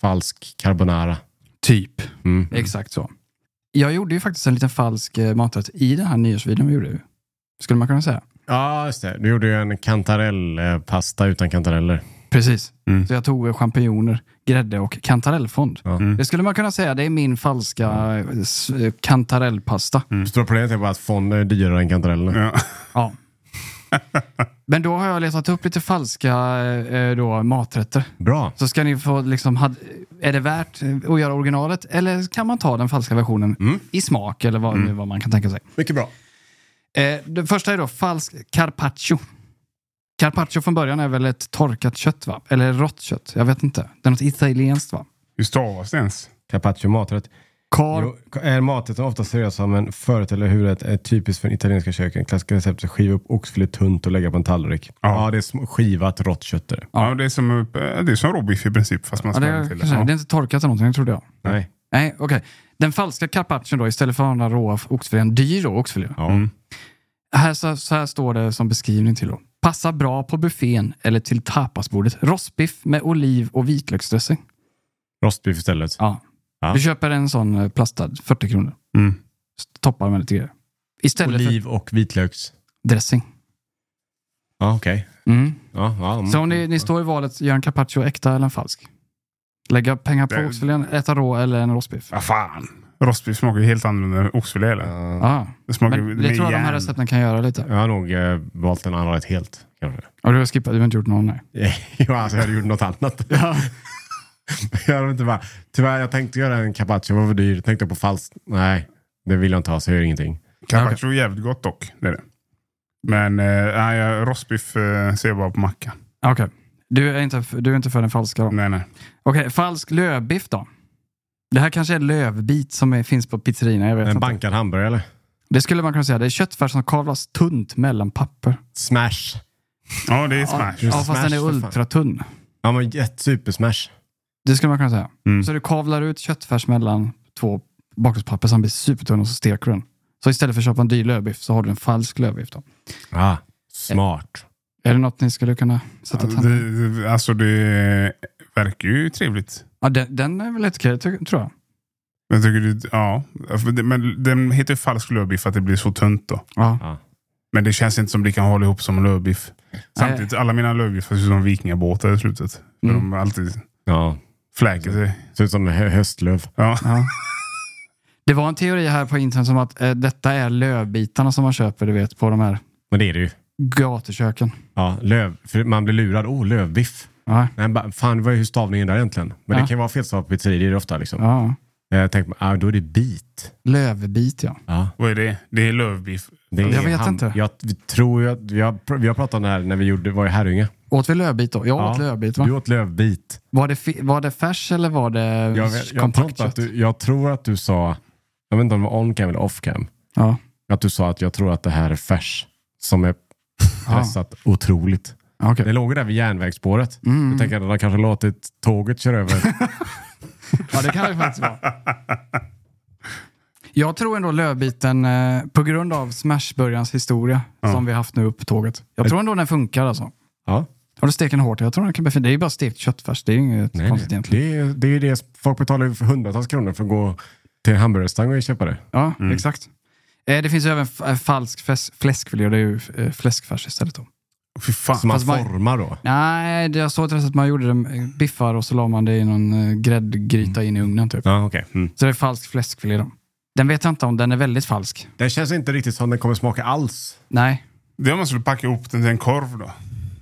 falsk carbonara. Typ. Exakt så. Jag gjorde ju faktiskt en liten falsk eh, maträtt i den här nyårsvideon vi gjorde. ju. Skulle man kunna säga. Ja, just det. Du gjorde ju en kantarellpasta utan kantareller. Precis. Så jag tog eh, champinjoner, grädde och kantarellfond. Det skulle man kunna säga, det är min falska eh, s- eh, kantarellpasta. Stora problemet är bara typ att fonden är dyrare än Ja. kantarellerna. Ja. Men då har jag letat upp lite falska eh, då, maträtter. Bra. Så ska ni få, liksom, had, är det värt att göra originalet eller kan man ta den falska versionen i smak eller vad, vad man kan tänka sig? Mycket bra. Eh, det första är då falsk carpaccio. Carpaccio från början är väl ett torkat kött, va? Eller rått kött. Jag vet inte. Det är något italienskt, va? Hur stavas det ens? Carpaccio maträtt. Car... Jo, är maträtten ofta seriös som en förrätt eller huvudrätt är typiskt för den italienska köken. Klassiska recept är att skiva upp oxfilé tunt och lägga på en tallrik. Ja, det är sm- skivat rått kött. är det. Ja. det, är som, eh, det är som råbiff i princip fast man Ja, det, smäller är, till det. kanske- Ja. det är inte torkat eller någonting, det trodde jag. Nej. Nej, okej. Den falska carpaccion då, istället för den där råa oxfilén, dyr då oxfilé. Ja. Här, så, så här står det som beskrivning till då. Passar bra på buffén eller till tapasbordet. Rostbiff med oliv och vitlöksdressing. Rostbiff istället. Ja. Ja. Du köper en sån eh, plastad, 40 kronor. Mm. S- Toppar med lite grejer. Istället Oliv och vitlöks. för dressing. Ja, okej. Mm. Ja, ja, mm. Så om ni, ni står i valet, gör en carpaccio äkta eller en falsk? Lägga pengar på Det- oxfilén, äta rå eller en rostbiff? Ja, fan. Rostbiff smakar ju helt annorlunda än oxfilé. Eller? Ja. Det smakar ju Men det med tror jag de här järn. recepten kan göra lite. Jag har nog eh, valt en annan rätt helt. Kanske. Och du har skippat, du har inte gjort någon nej. Ja, alltså jag hade gjort något annat. jag hade inte bara, tyvärr, jag tänkte göra en carpaccio, vad var dyr. Tänkte på falskt. Nej, det vill jag inte ha, så jag gör ingenting. Carpaccio är jävligt gott dock. Det är det. Men eh, nej, jag- rostbiff eh, ser jag bara på macka. Okej. Du, är inte f- du är inte för den falska då? Nej, nej. Okej, falsk lövbiff då? Det här kanske är lövbit som är, finns på pizzerierna, jag vet En inte. bankad hamburgare eller? Det skulle man kunna säga. Det är köttfärs som kavlas tunt mellan papper. Smash. Ja, det är smash. Ja, fast den är för fan. ultratunn. Ja, men jätte- supersmash. Det skulle man kunna säga. Mm. Så du kavlar ut köttfärs mellan två bakplåtspapper så den blir supertunn och så steker du den. Så istället för att köpa en dyr lövbiff så har du en falsk lövbiff då. Ah, smart. Är det något ni skulle kunna sätta Alltså, tänderna det, det- alltså det verkar ju trevligt. ja, den, den är väl helt okej, ty- tror jag. Men jag tycker det, ja. För det- Men den heter ju falsk lövbiff för att det blir så tunt då. Ja. Ja. Men det känns inte som det kan hålla ihop som lövbiff. Samtidigt, alla mina lövbiffar ser ut som vikingabåtar i slutet. För Mm. de alltid Ja, fläker sig. ser ut som hö- höstlöv. Ja. Ja. Det var en teori här på internet som att eh, detta är lövbitarna som man köper, du vet, på de här Men det är det ju. gatuköken. Ja, löv. För man blir lurad. Oh, lövbiff. Ja. Nej, ba, fan, det var ju hur stavningen där egentligen. Men Ja. det kan ju vara felstavat på pizzerior ofta. Liksom. Ja. Jag tänkte, ah, då är det bit. Lövbit ja. Ja. Vad är det? Det är lövbiff. Det är Jag vet ham- inte. Jag vi tror ju att, vi har, pr- vi har pratat om det här när vi gjorde, var i Herrljunga. Åt vi lövbit då? Jag åt lövbit va? Du åt lövbit. Var det, fi- var det färs eller var det Jag, s- jag, tror kompakt inte att kött? du, jag tror att du sa, jag vet inte om det var on cam eller off cam, Ja. att du sa att jag tror att det här är färs som är pressat otroligt. Ja, okej. Det låg ju där vid järnvägsspåret. Jag tänker att de kanske låtit tåget köra över. Ja, det kan det faktiskt vara. Jag tror ändå lövbiten, eh, på grund av smashburgarens historia som vi haft nu upp tåget. Jag tror ändå den funkar alltså. ja. Har du stekt den hårt? Jag tror den kan bli fin. Det är ju bara stekt köttfärs. Det är ju inget Nej, konstigt nej. egentligen. Det, är, det är ju det folk betalar ju för hundratals kronor för att gå till en hamburgerrestaurang och köpa det. Ja, exakt. Eh, det finns ju även f- eh, falsk fäs- fläskfilé. Det är ju eh, fläskfärs istället då. Fy fan. Som man Fast man- formar då. Nej, det- jag såg till att man gjorde det med biffar och så la man det i någon eh, gräddgryta in i ugnen typ. Ja, okej. Mm. Så det är falsk fläskfilé då. Den vet jag inte om, den är väldigt falsk. Den känns inte riktigt som den kommer smaka alls. Nej. Det är om man skulle packa ihop den till en korv då.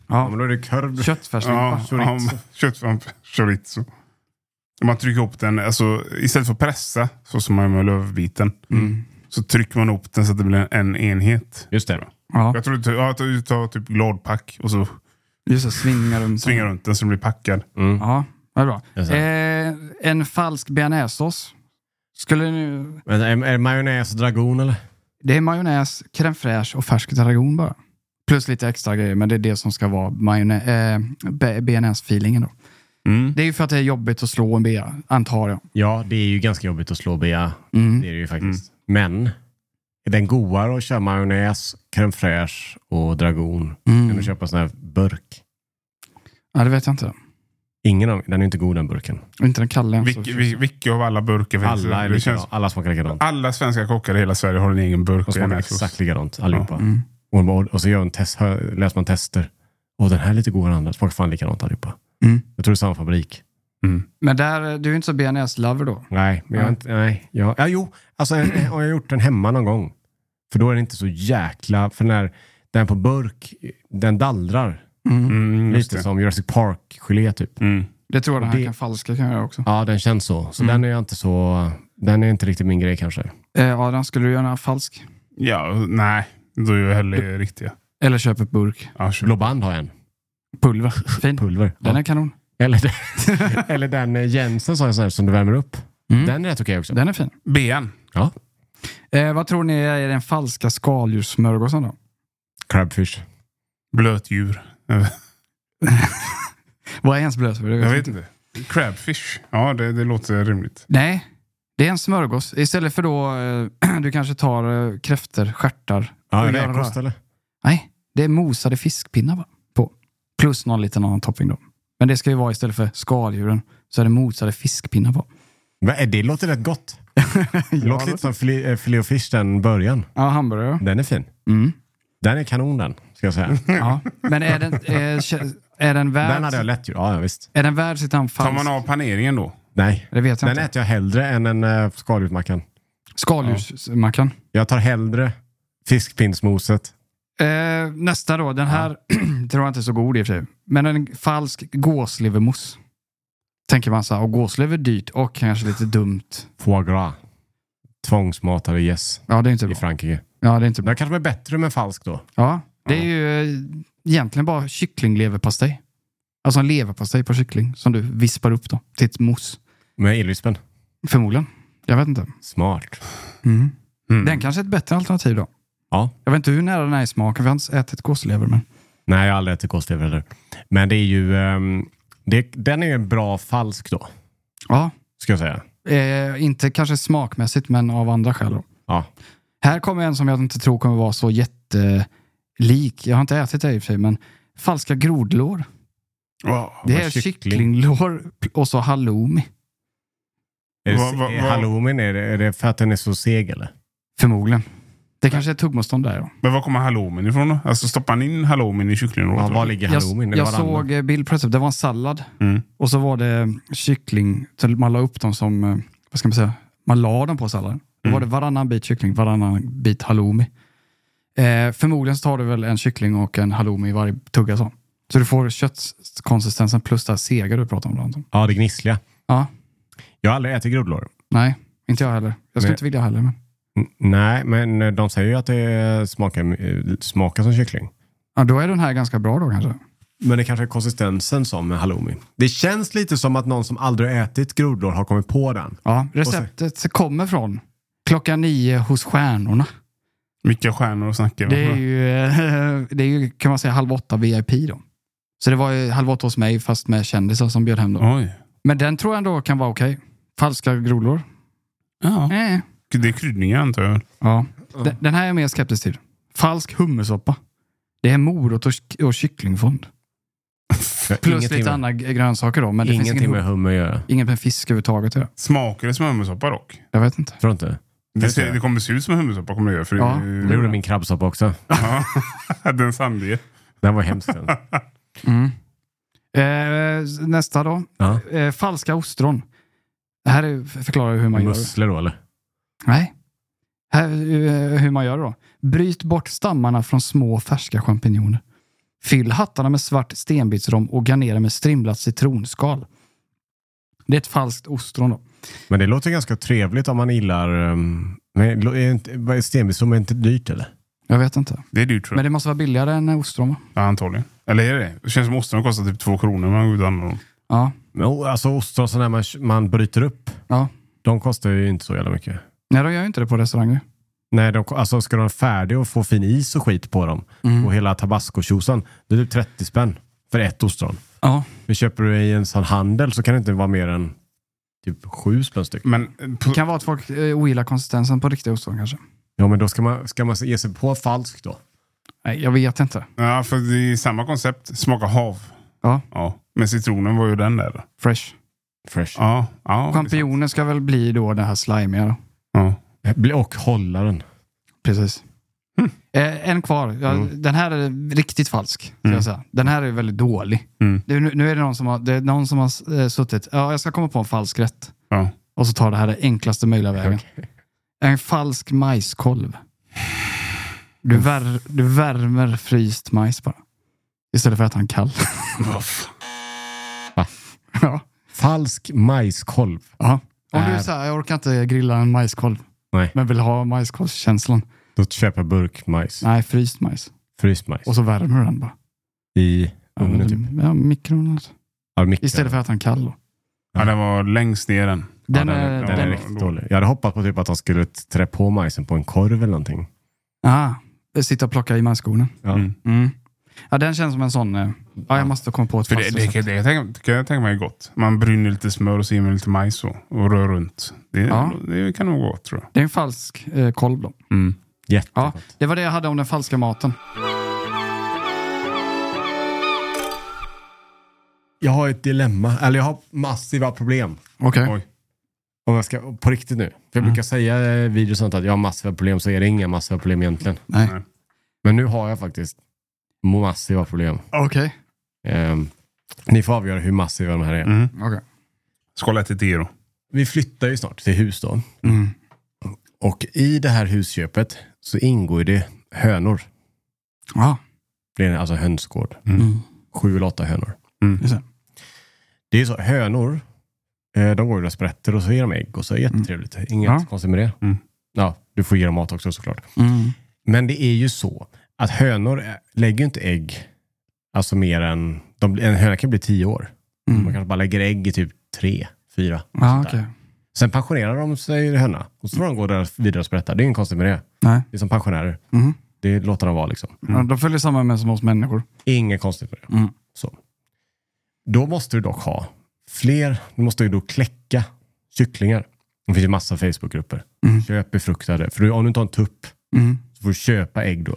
Ja, men då är det korv. Köttfärslimpa. Ja, chorizo. Köttframp, chorizo. Om Man trycker ihop den, alltså, istället för att pressa, så som man gör med lövbiten, Mm. så trycker man ihop den så att det blir en enhet. Just det. Ja. Jag tror du tar, ja, du tar typ gladpack och så Just det, svingar runt. svingar runt den så den blir packad. Ja, vad bra. Jag Eh, en falsk bearnaisesås. Skulle nu... Men eh, är, är det majonnäs och dragon eller? Det är majonnäs, crème fraîche och färsk dragon bara. Plus lite extra grejer, men det är det som ska vara majonnä- eh, be- bearnaise-feelingen då. Det är ju för att det är jobbigt att slå en bea, antar jag. Mm. Ja, det är ju ganska jobbigt att slå bea. Det är det ju faktiskt. Mm. Men är den godare att köra majonnäs, crème fraîche och dragon? Kan du köpa en sån här burk? Mm. Ja, det vet jag inte. Ingen av, den är inte god den burken. Inte den kalla än. så- Vilke, vil- vilka av alla burkar finns Alla, är det? likadana. Känns, alla smakar likadant. alla svenska kockar i hela Sverige har en egen burk. De i den smakar här såsen. exakt likadant allihopa. Och, och, och så gör en test, hör- läser man tester. Och den här är lite godare än andra. Smakar fan likadant allihopa. Mm. Jag tror det är samma fabrik. Men där, du är ju inte så bearnaise-lover då? Nej, men jag, har inte, nej jag, ja, jo. Alltså, jag, jag har gjort den hemma någon gång. För då är det inte så jäkla... För när den på burk, den dallrar. Mm, just Lite det. som Jurassic Park-gelé typ. Mm. Det tror jag den här Det- kan falska kan göra också. Ja, den känns så. Så den är jag inte så... Den är inte riktigt min grej kanske. Eh, Adam, skulle du göra falsk? Ja, nej. Då är jag hellre riktiga. Eller köpa burk? Ja, kör. Blå band har jag en. Pulver. Fin. Pulver. Den Ja. är kanon. Eller, den- eller den eh, Jensen sa jag så här, som du värmer upp. Mm. Den är rätt okej också. Den är fin. Ben. Ja. Eh, vad tror ni är den falska skaldjurssmörgåsen då? Crabfish. Blötdjur. Vad är ens blötsmör? Jag vet inte. Alltså, Crabfish. Ja, det, det låter rimligt. Nej, det är en smörgås. Istället för då, eh, du kanske tar eh, kräftor, stjärtar. Ja, och gör räkost rör. eller? Nej, det är mosade fiskpinnar va? på. Plus någon liten annan topping då. Men det ska ju vara istället för skaldjuren så är det mosade fiskpinnar på. Men det låter rätt gott. Det låter lite som filé, eh, filé och fish den början. Ja, hamburgare. Den är fin. Mm. Den är kanon den, ska jag säga. Ja. Men är den, är, är den Den hade jag värd, lätt gjort. Ja, ja, visst. är den värd sitt namn Tar falsk? man av paneringen då? Nej. Det vet jag Den inte. äter jag hellre än en uh, skaldjursmackan. Skaldjursmackan. Jag tar hellre fiskpinnsmoset. Eh, nästa då. Den här tror jag inte är så god i och för sig. Men en falsk gåslevermousse. Tänker man så här, och gåslever är dyrt och kanske lite dumt. Foie gras. Tvångsmatade gäss Ja, det är inte bra. i Frankrike. Ja, det är inte bra. Den kanske är bättre men falsk då. Ja, det är ju eh, egentligen bara kycklingleverpastej. Alltså en leverpastej på kyckling som du vispar upp då till ett mousse. Med illvispen. Förmodligen. Jag vet inte. Mm. Smart. Den kanske är ett bättre alternativ då. Ja. Jag vet inte hur nära den är i smaken. Vi har inte ätit gåslever, men Nej, jag har aldrig ätit gåslever heller. Men det är ju... ehm, det, den är ju en bra falsk då, ja. ska jag säga. Eh, inte kanske smakmässigt, men av andra skäl då. Ja. Här kommer en som jag inte tror kommer vara så jättelik. Jag har inte ätit det i och för sig, men falska grodlår. Det vad är kyckling. kycklinglår och så halloumi. Är, det, Vad- vad- är vad- halloumin, är det, är det för att den är så seg eller? Förmodligen. Det kanske är tuggmotstånd där. Då. Men var kommer halloumin ifrån då? Alltså stoppar man in halloumin i Ja, kycklinglådan? var ligger halloumin? Jag, Är det jag varannan? såg eh, bild på det, det var en sallad Mm. och så var det eh, kyckling. så Man la upp dem som, eh, vad ska man säga, man la dem på salladen. Då var det varannan bit kyckling, varannan bit halloumi. Eh, förmodligen så tar du väl en kyckling och en halloumi i varje tugga så. Så du får köttkonsistensen plus det här sega du pratade om. Anton. Ja, det gnissliga. Ja. Jag har aldrig ätit grodlor. Nej, inte jag heller. Jag skulle Nej. inte vilja heller. Men... N- Nej, men eh, de säger ju att det smakar, eh, smakar som kyckling. Ja, då är den här ganska bra då kanske. Men det kanske är konsistensen som med halloumi. Det känns lite som att någon som aldrig har ätit grodor har kommit på den. Ja, receptet kommer från klockan nio hos stjärnorna. Mycket stjärnor och snackar. Det är ju, eh, det är ju kan man säga, halv åtta VIP då. Så det var ju halv åtta hos mig fast med kändisar som bjöd hem dem. Oj. Men den tror jag ändå kan vara okej. Falska grodor. Ja. Eh. Det är kryddningar antar jag. Ja. Den, den här är jag mer skeptisk till. Falsk hummersoppa. Det är morot och, ky- och kycklingfond. Jag har Plus ingenting lite med- andra g- grönsaker då. Men det finns Ingenting ingen, med med... hummer att göra. ingen med fisk överhuvudtaget. Ja. Smakar det som hummersoppa dock? Jag vet inte. Tror inte. Det, Just ser, det. det kommer se ut som hummersoppa. Kommer det göra. För Ja. Det gjorde min krabbsoppa också. ja, den sandige. Den var hemsk den. Eh, s- nästa då. Ja. Eh, falska ostron. Det här är, förklarar hur man gör. det. Musslor då eller? Nej. Här, eh, hur man gör det då. Bryt bort stammarna från små färska champinjoner. Fyll hattarna med svart stenbitsrom och garnera med strimlat citronskal. Det är ett falskt ostron då. Men det låter ganska trevligt om man gillar... Um, men lo- är inte- vad är stenbitsrom är inte dyrt eller? Jag vet inte. Det är dyrt tror Men jag. det måste vara billigare än eh, ostron va? Ja, antagligen. Eller är det det? känns som osten kostar typ två kronor när man går ut och handlar dem. Ja. Men, o- alltså ostron som när man, man bryter upp. ja. De kostar ju inte så jävla mycket. Nej, de gör ju inte det på restauranger. Nej, de, alltså ska de vara färdiga och få fin is och skit på dem och hela tabasco-tjosan, det är typ 30 spänn för ett ostron. Ja. Men köper du i en sån handel så kan det inte vara mer än typ sju spänn styck. Men eh, på, Det kan vara att folk eh, ogillar konsistensen på riktiga ostron kanske. Ja, men då ska man, ska man ge sig på falskt då? Nej, jag vet inte. ja, för det är samma koncept. Smaka hav. Ja. ja. Men citronen var ju den där. Fresh. Fresh. Ja. ja Champinjoner ska väl bli då det här slimiga då. Ja. Och hålla den. Precis. Eh, en kvar. Ja, Den här är riktigt falsk. ska Jag säga. Den här är väldigt dålig. Mm. Det, är- nu, nu är det någon som har, det är någon som har eh, suttit, ja, jag ska komma på en falsk rätt. ja. Och så tar det här den enklaste möjliga vägen. En falsk majskolv. Du, vär, du värmer fryst majs bara. Istället för att han kall. Va? ja. Falsk majskolv. ja. Om du Äh. är såhär, jag orkar inte grilla en majskolv, Nej, men vill ha majskolvskänslan. då köper jag burkmajs. Nej, fryst majs. Fryst majs. Och så värmer du den bara. I ugnen typ. Ja, mikron alltså. Ja, mikro. Istället för att han kall då. ja, den var längst ner den. Ja, Den är... den är den- riktigt dålig. Jag hade hoppats på typ att de skulle trä på majsen på en korv eller någonting. Ah, sitta och plocka i majskornen. Ja. Mm. Mm. Ja, den känns som en sån... eh, Ja, jag måste komma på ett För fast det, det, kan- recept. det, kan jag tänka- kan jag tänka mig är gott. Man bryner lite smör och så ger man lite majs och, och rör runt. Det, Ja. det kan nog gå tror jag. Det är en falsk eh, kolv då. Ja, Jättegott. det var det jag hade om den falska maten. Jag har ett dilemma, eller jag har massiva problem. Okej. Oj. Om jag ska, på riktigt nu. För jag brukar säga i videos och sånt att jag har massiva problem, så är det inga massiva problem egentligen. Nej. Men nu har jag faktiskt massiva problem. Okej. Ehm, ni får avgöra hur massiva de här är. Okej. Skala till tio då. Vi flyttar ju snart till hus då. Mm. Och i det här husköpet så ingår ju det hönor. Ja, Det är alltså hönsgård. Mm. Sju eller åtta hönor. just det. Det är ju så, hönor, eh, de går ju och sprätter och så ger de ägg och så är det jättetrevligt. Inget Mm. Ja. konstigt med det. Mm. Ja, du får ge dem mat också såklart. Mm. Men det är ju så att hönor ä- lägger ju inte ägg, alltså mer än, de, en höna kan bli tio år. Mm. Man kanske bara lägger ägg i typ tre, fyra. Ja, sånt där. okej. Sen pensionerar de sig höna och så får de gå där vidare och sprätta. Det är inget konstigt med det. Nej. Det är som pensionärer. Mhm. Det låter de vara liksom. Ja, de följer samma med som oss människor. Inget konstigt med det. Mm. Så. Då måste du dock ha fler, du måste ju då kläcka kycklingar. Det finns ju massa Facebookgrupper. Köp befruktade. För du- om du inte har en tupp Mm. så får du köpa ägg då,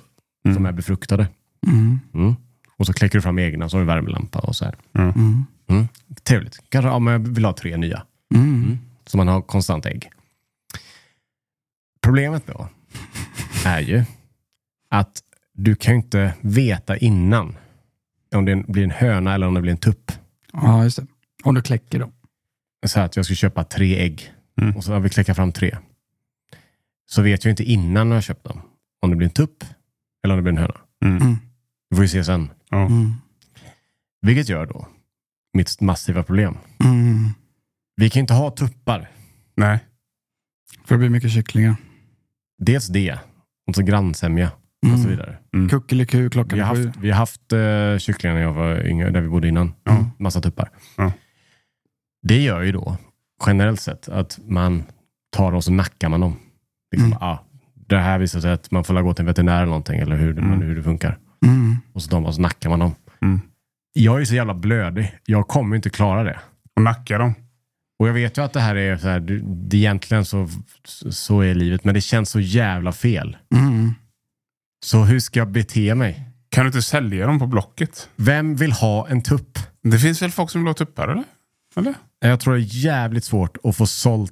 som är befruktade. Mm. Och så kläcker du fram egna, så har du värmelampa och så här. Mm. Trevligt. Kanske om jag vill ha tre nya. Mm. Så man har konstant ägg. Problemet då är ju att du kan ju inte veta innan om det blir en höna eller om det blir en tupp. Ja, just det. Om du kläcker då. Så här att jag ska köpa tre ägg Mm. och så har vi kläcka fram tre. Så vet jag inte innan när jag köpt dem om det blir en tupp eller om det blir en höna. Mm. Mm. Vi får ju se sen. Ja. Mm. Vilket gör då mitt massiva problem. Mm. Vi kan ju inte ha tuppar. Nej. För det blir mycket kycklingar. Dels det, och så grannsämja och så Mm. vidare. Kuckeliku klockan Vi har sju. haft, vi har haft eh, kycklingar när jag var yngre, där vi bodde innan. Ja. Massa tuppar. Ja. Det gör ju då, generellt sett, att man tar dem och så nackar man dem. Liksom, Mm. ah, det här visar sig att man får la gå till en veterinär eller någonting, eller hur, det- Mm. hur det funkar. Mm. Och så, tar man, och så nackar man dem. Mm. Jag är ju så jävla blödig. Jag kommer ju inte klara det. Och nacka dem. Och jag vet ju att det här är så här, du- det, egentligen så, så är livet, men det känns så jävla fel. Mm. Så hur ska jag bete mig? Kan du inte sälja dem på Blocket? Vem vill ha en tupp? Det finns väl folk som vill ha tuppar eller? Eller? Jag tror det är jävligt svårt att få sålt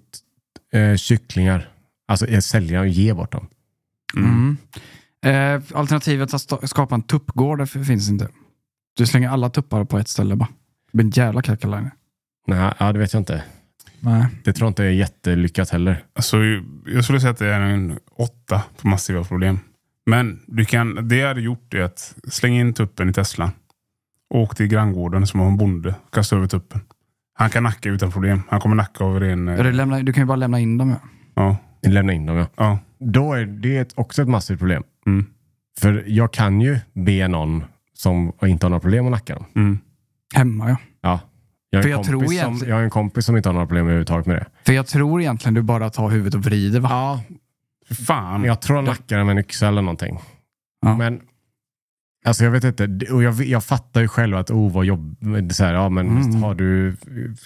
eh, kycklingar. Alltså eh, sälja och ge bort dem. Mm. Eh, alternativet att sta- skapa en tuppgård det finns inte. Du slänger alla tuppar på ett ställe bara. Det blir en jävla kackerlajne. Nej, ja, det vet jag inte. Nej. Det tror jag inte är jättelyckat heller. Alltså, jag skulle säga att det är en åtta på massiva problem. Men du kan, det jag hade gjort är att slänga in tuppen i Tesla. Åk till granngården som har en bonde. Kasta över tuppen. Han kan nacka utan problem. Han kommer nacka av ren... eh, Ja, du, lämnar, du kan ju bara lämna in dem. Ja. Ja. Lämna in dem ja. ja. Då är det ett, också ett massivt problem. Mm. För jag kan ju be någon som inte har några problem att nacka dem. Mm. Hemma ja. Ja. Jag, har För en jag tror kompis som, egentligen- jag har en kompis som inte har några problem överhuvudtaget med det. För jag tror egentligen du bara tar huvudet och vrider va? Ja, Fy fan. men jag tror han nackar den med en yxa eller någonting. Ja. Men alltså jag vet inte, Det- och jag, jag fattar ju själv att oh vad jobb, så här, ja men Mm. visst har du,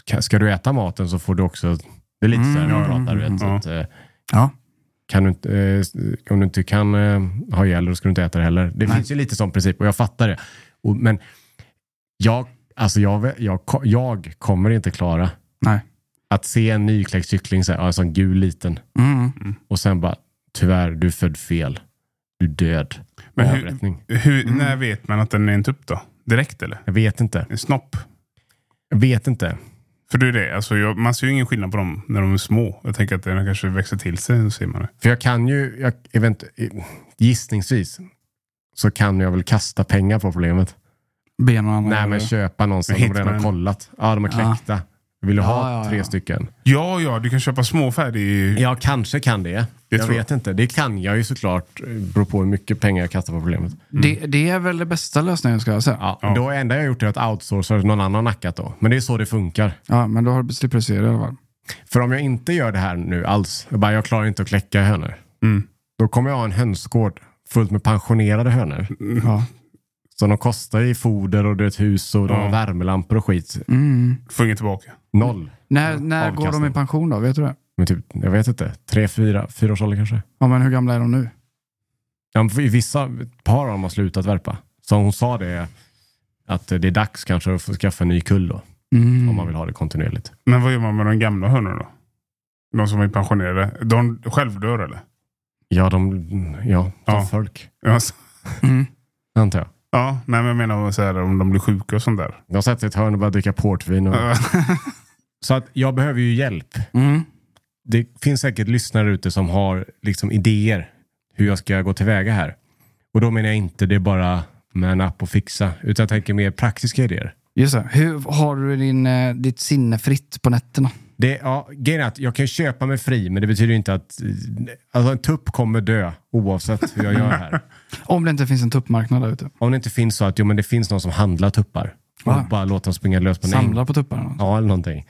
ka- ska du äta maten så får du också, det är lite så här Mm, man ja, pratar, du mm, vet. Så ja. att, eh, Ja. kan du inte, eh, om du inte kan eh, ha ihjäl det, då ska du inte äta det heller. Det Nej. finns ju lite sån princip och jag fattar det. Och, men jag, alltså jag, jag, jag kommer inte klara Nej. att se en nykläckt kyckling, så här, ja, en sån gul liten, Mm. och sen bara tyvärr, du är född fel. Du är död. Men hur- Avrättning. Hur, När vet man att den är en tupp då? Direkt eller? Jag vet inte. En snopp? Jag vet inte. För det är det. Alltså, jag, man ser ju ingen skillnad på dem när de är små. Jag tänker att den kanske växer till sig. Så ser man det. För jag kan ju, jag, event, gissningsvis, så kan jag väl kasta pengar på problemet. Benen och andra. Nej, men köpa någon som de Hitman. redan har kollat. Ja, de är Ja. kläckta. Vill du Ja, ha ja, ja. tre stycken? Ja, ja. Du kan köpa små färdig... Jag kanske kan det. jag tror jag. vet inte. Det kan jag ju såklart. eh, Beror på hur mycket pengar jag kastar på problemet. det, det är väl det bästa lösningen ska jag säga. Ja, Då enda jag gjort är att outsourca det till någon annan har nackat då. Men det är så det funkar. Ja, men då har du slipper du se det i alla fall. För om jag inte gör det här nu alls, jag bara jag klarar inte att kläcka hönor. Mm. Då kommer jag ha en hönsgård fullt med pensionerade hönor. Ja. Så de kostar i foder och det är ett hus och de har Ja. värmelampor och skit. Mm. Får inget tillbaka. Noll. När, när går Avkastning. de i pension då? Vet du det? Men typ, jag vet inte, tre, fyra, fyra års ålder kanske. Ja, men hur gamla är de nu? Ja, men för vissa ett par av dem har slutat värpa. Så hon sa det, att det är dags kanske att få skaffa en ny kull då. Mm. Om man vill ha det kontinuerligt. Men vad gör man med de gamla hönorna då? De som är pensionerade. De självdör eller? Ja, de, ja, de Ja. folk. Ja, Alltså, Mm. Antar jag. ja, nej men jag menar så här, om de blir sjuka och sånt där. De sätter sig i ett hörn och börjar dricka portvin. Och... Så att jag behöver ju hjälp. Mm. det finns säkert lyssnare ute som har liksom idéer hur jag ska gå tillväga här. Och då menar jag inte det är bara man up och fixa, utan jag tänker mer praktiska idéer. Just det. Hur har du din, eh, ditt sinne fritt på nätterna? Det, ja, grejen är att jag kan köpa mig fri, men det betyder inte att... Alltså en tupp kommer dö oavsett hur jag gör här. Om det inte finns en tuppmarknad där ute. Om det inte finns så att jo, men det finns någon som handlar tuppar och Ah. bara låter dem springa lös på en äng. Samla på tupparna. Ja, eller någonting.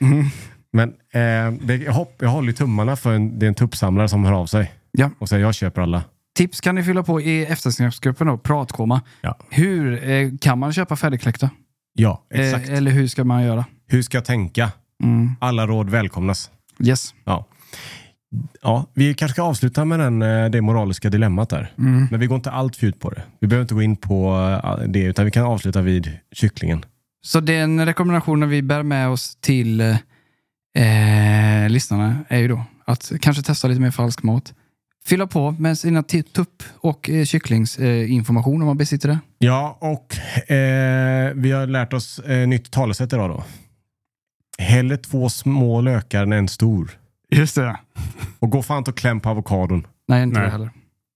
Men eh, det, jag, hopp, jag håller ju tummarna för en, det är en tuppsamlare som hör av sig Ja. och säger jag köper alla. Tips kan ni fylla på i eftersnacksgruppen då, pratkoma. Ja. Hur eh, kan man köpa färdigkläckta? Ja, exakt. Eh, eller hur ska man göra? Hur ska jag tänka? Mm. Alla råd välkomnas. Yes. Ja. Ja, vi kanske ska avsluta med den, eh, det moraliska dilemmat där. Men vi går inte allt för djupt på det. Vi behöver inte gå in på eh, det, utan vi kan avsluta vid kycklingen. Så den rekommendationen vi bär med oss till eh, eh, lyssnarna är ju då att kanske testa lite mer falsk mat. Fylla på med sina ti- tupp och eh, kycklingsinformation eh, information om man besitter det. Ja, och eh, vi har lärt oss eh, nytt talesätt idag då. Hellre två små lökar än en stor. Just det. Och gå fan inte och kläm på avokadon. Nej, inte Nej. det heller.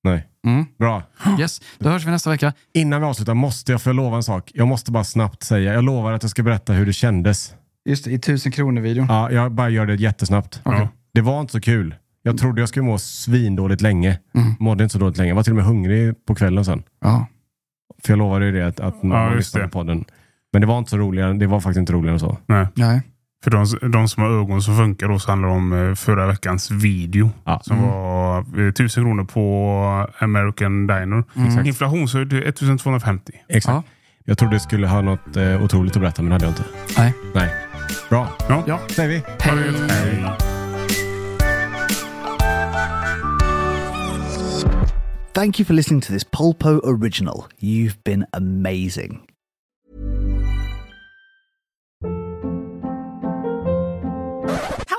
Nej. Mm. Bra. Yes, då hörs vi nästa vecka. Innan vi avslutar måste jag få lova en sak. Jag måste bara snabbt säga. Jag lovar att jag ska berätta hur det kändes. Just det, i tusen kronor-videon. Ja, jag bara gör det jättesnabbt. Okej. Det var inte så kul. Mm. Jag trodde jag skulle må svindåligt länge. Mådde inte så dåligt länge. Jag var till och med hungrig på kvällen sen. Ja. För jag lovade ju det att, att någon Ja, ja, just lyssnade det. på podden. Men det var inte så roligare. Det var faktiskt inte roligare än så. Nej. Nej. För de, de som har ögon som funkar då så handlar det om eh, förra veckans video. Ja. Som var eh, 1000 kronor på American Diner. Inflationshöjd till 1250. Exakt. Jag trodde jag skulle ha något eh, otroligt att berätta, men det hade jag inte. Nej. Nej. Bra. Ja. Ja. säger vi. Ha det gött. Hej. Thank you for listening to this Polpo original. You've been amazing.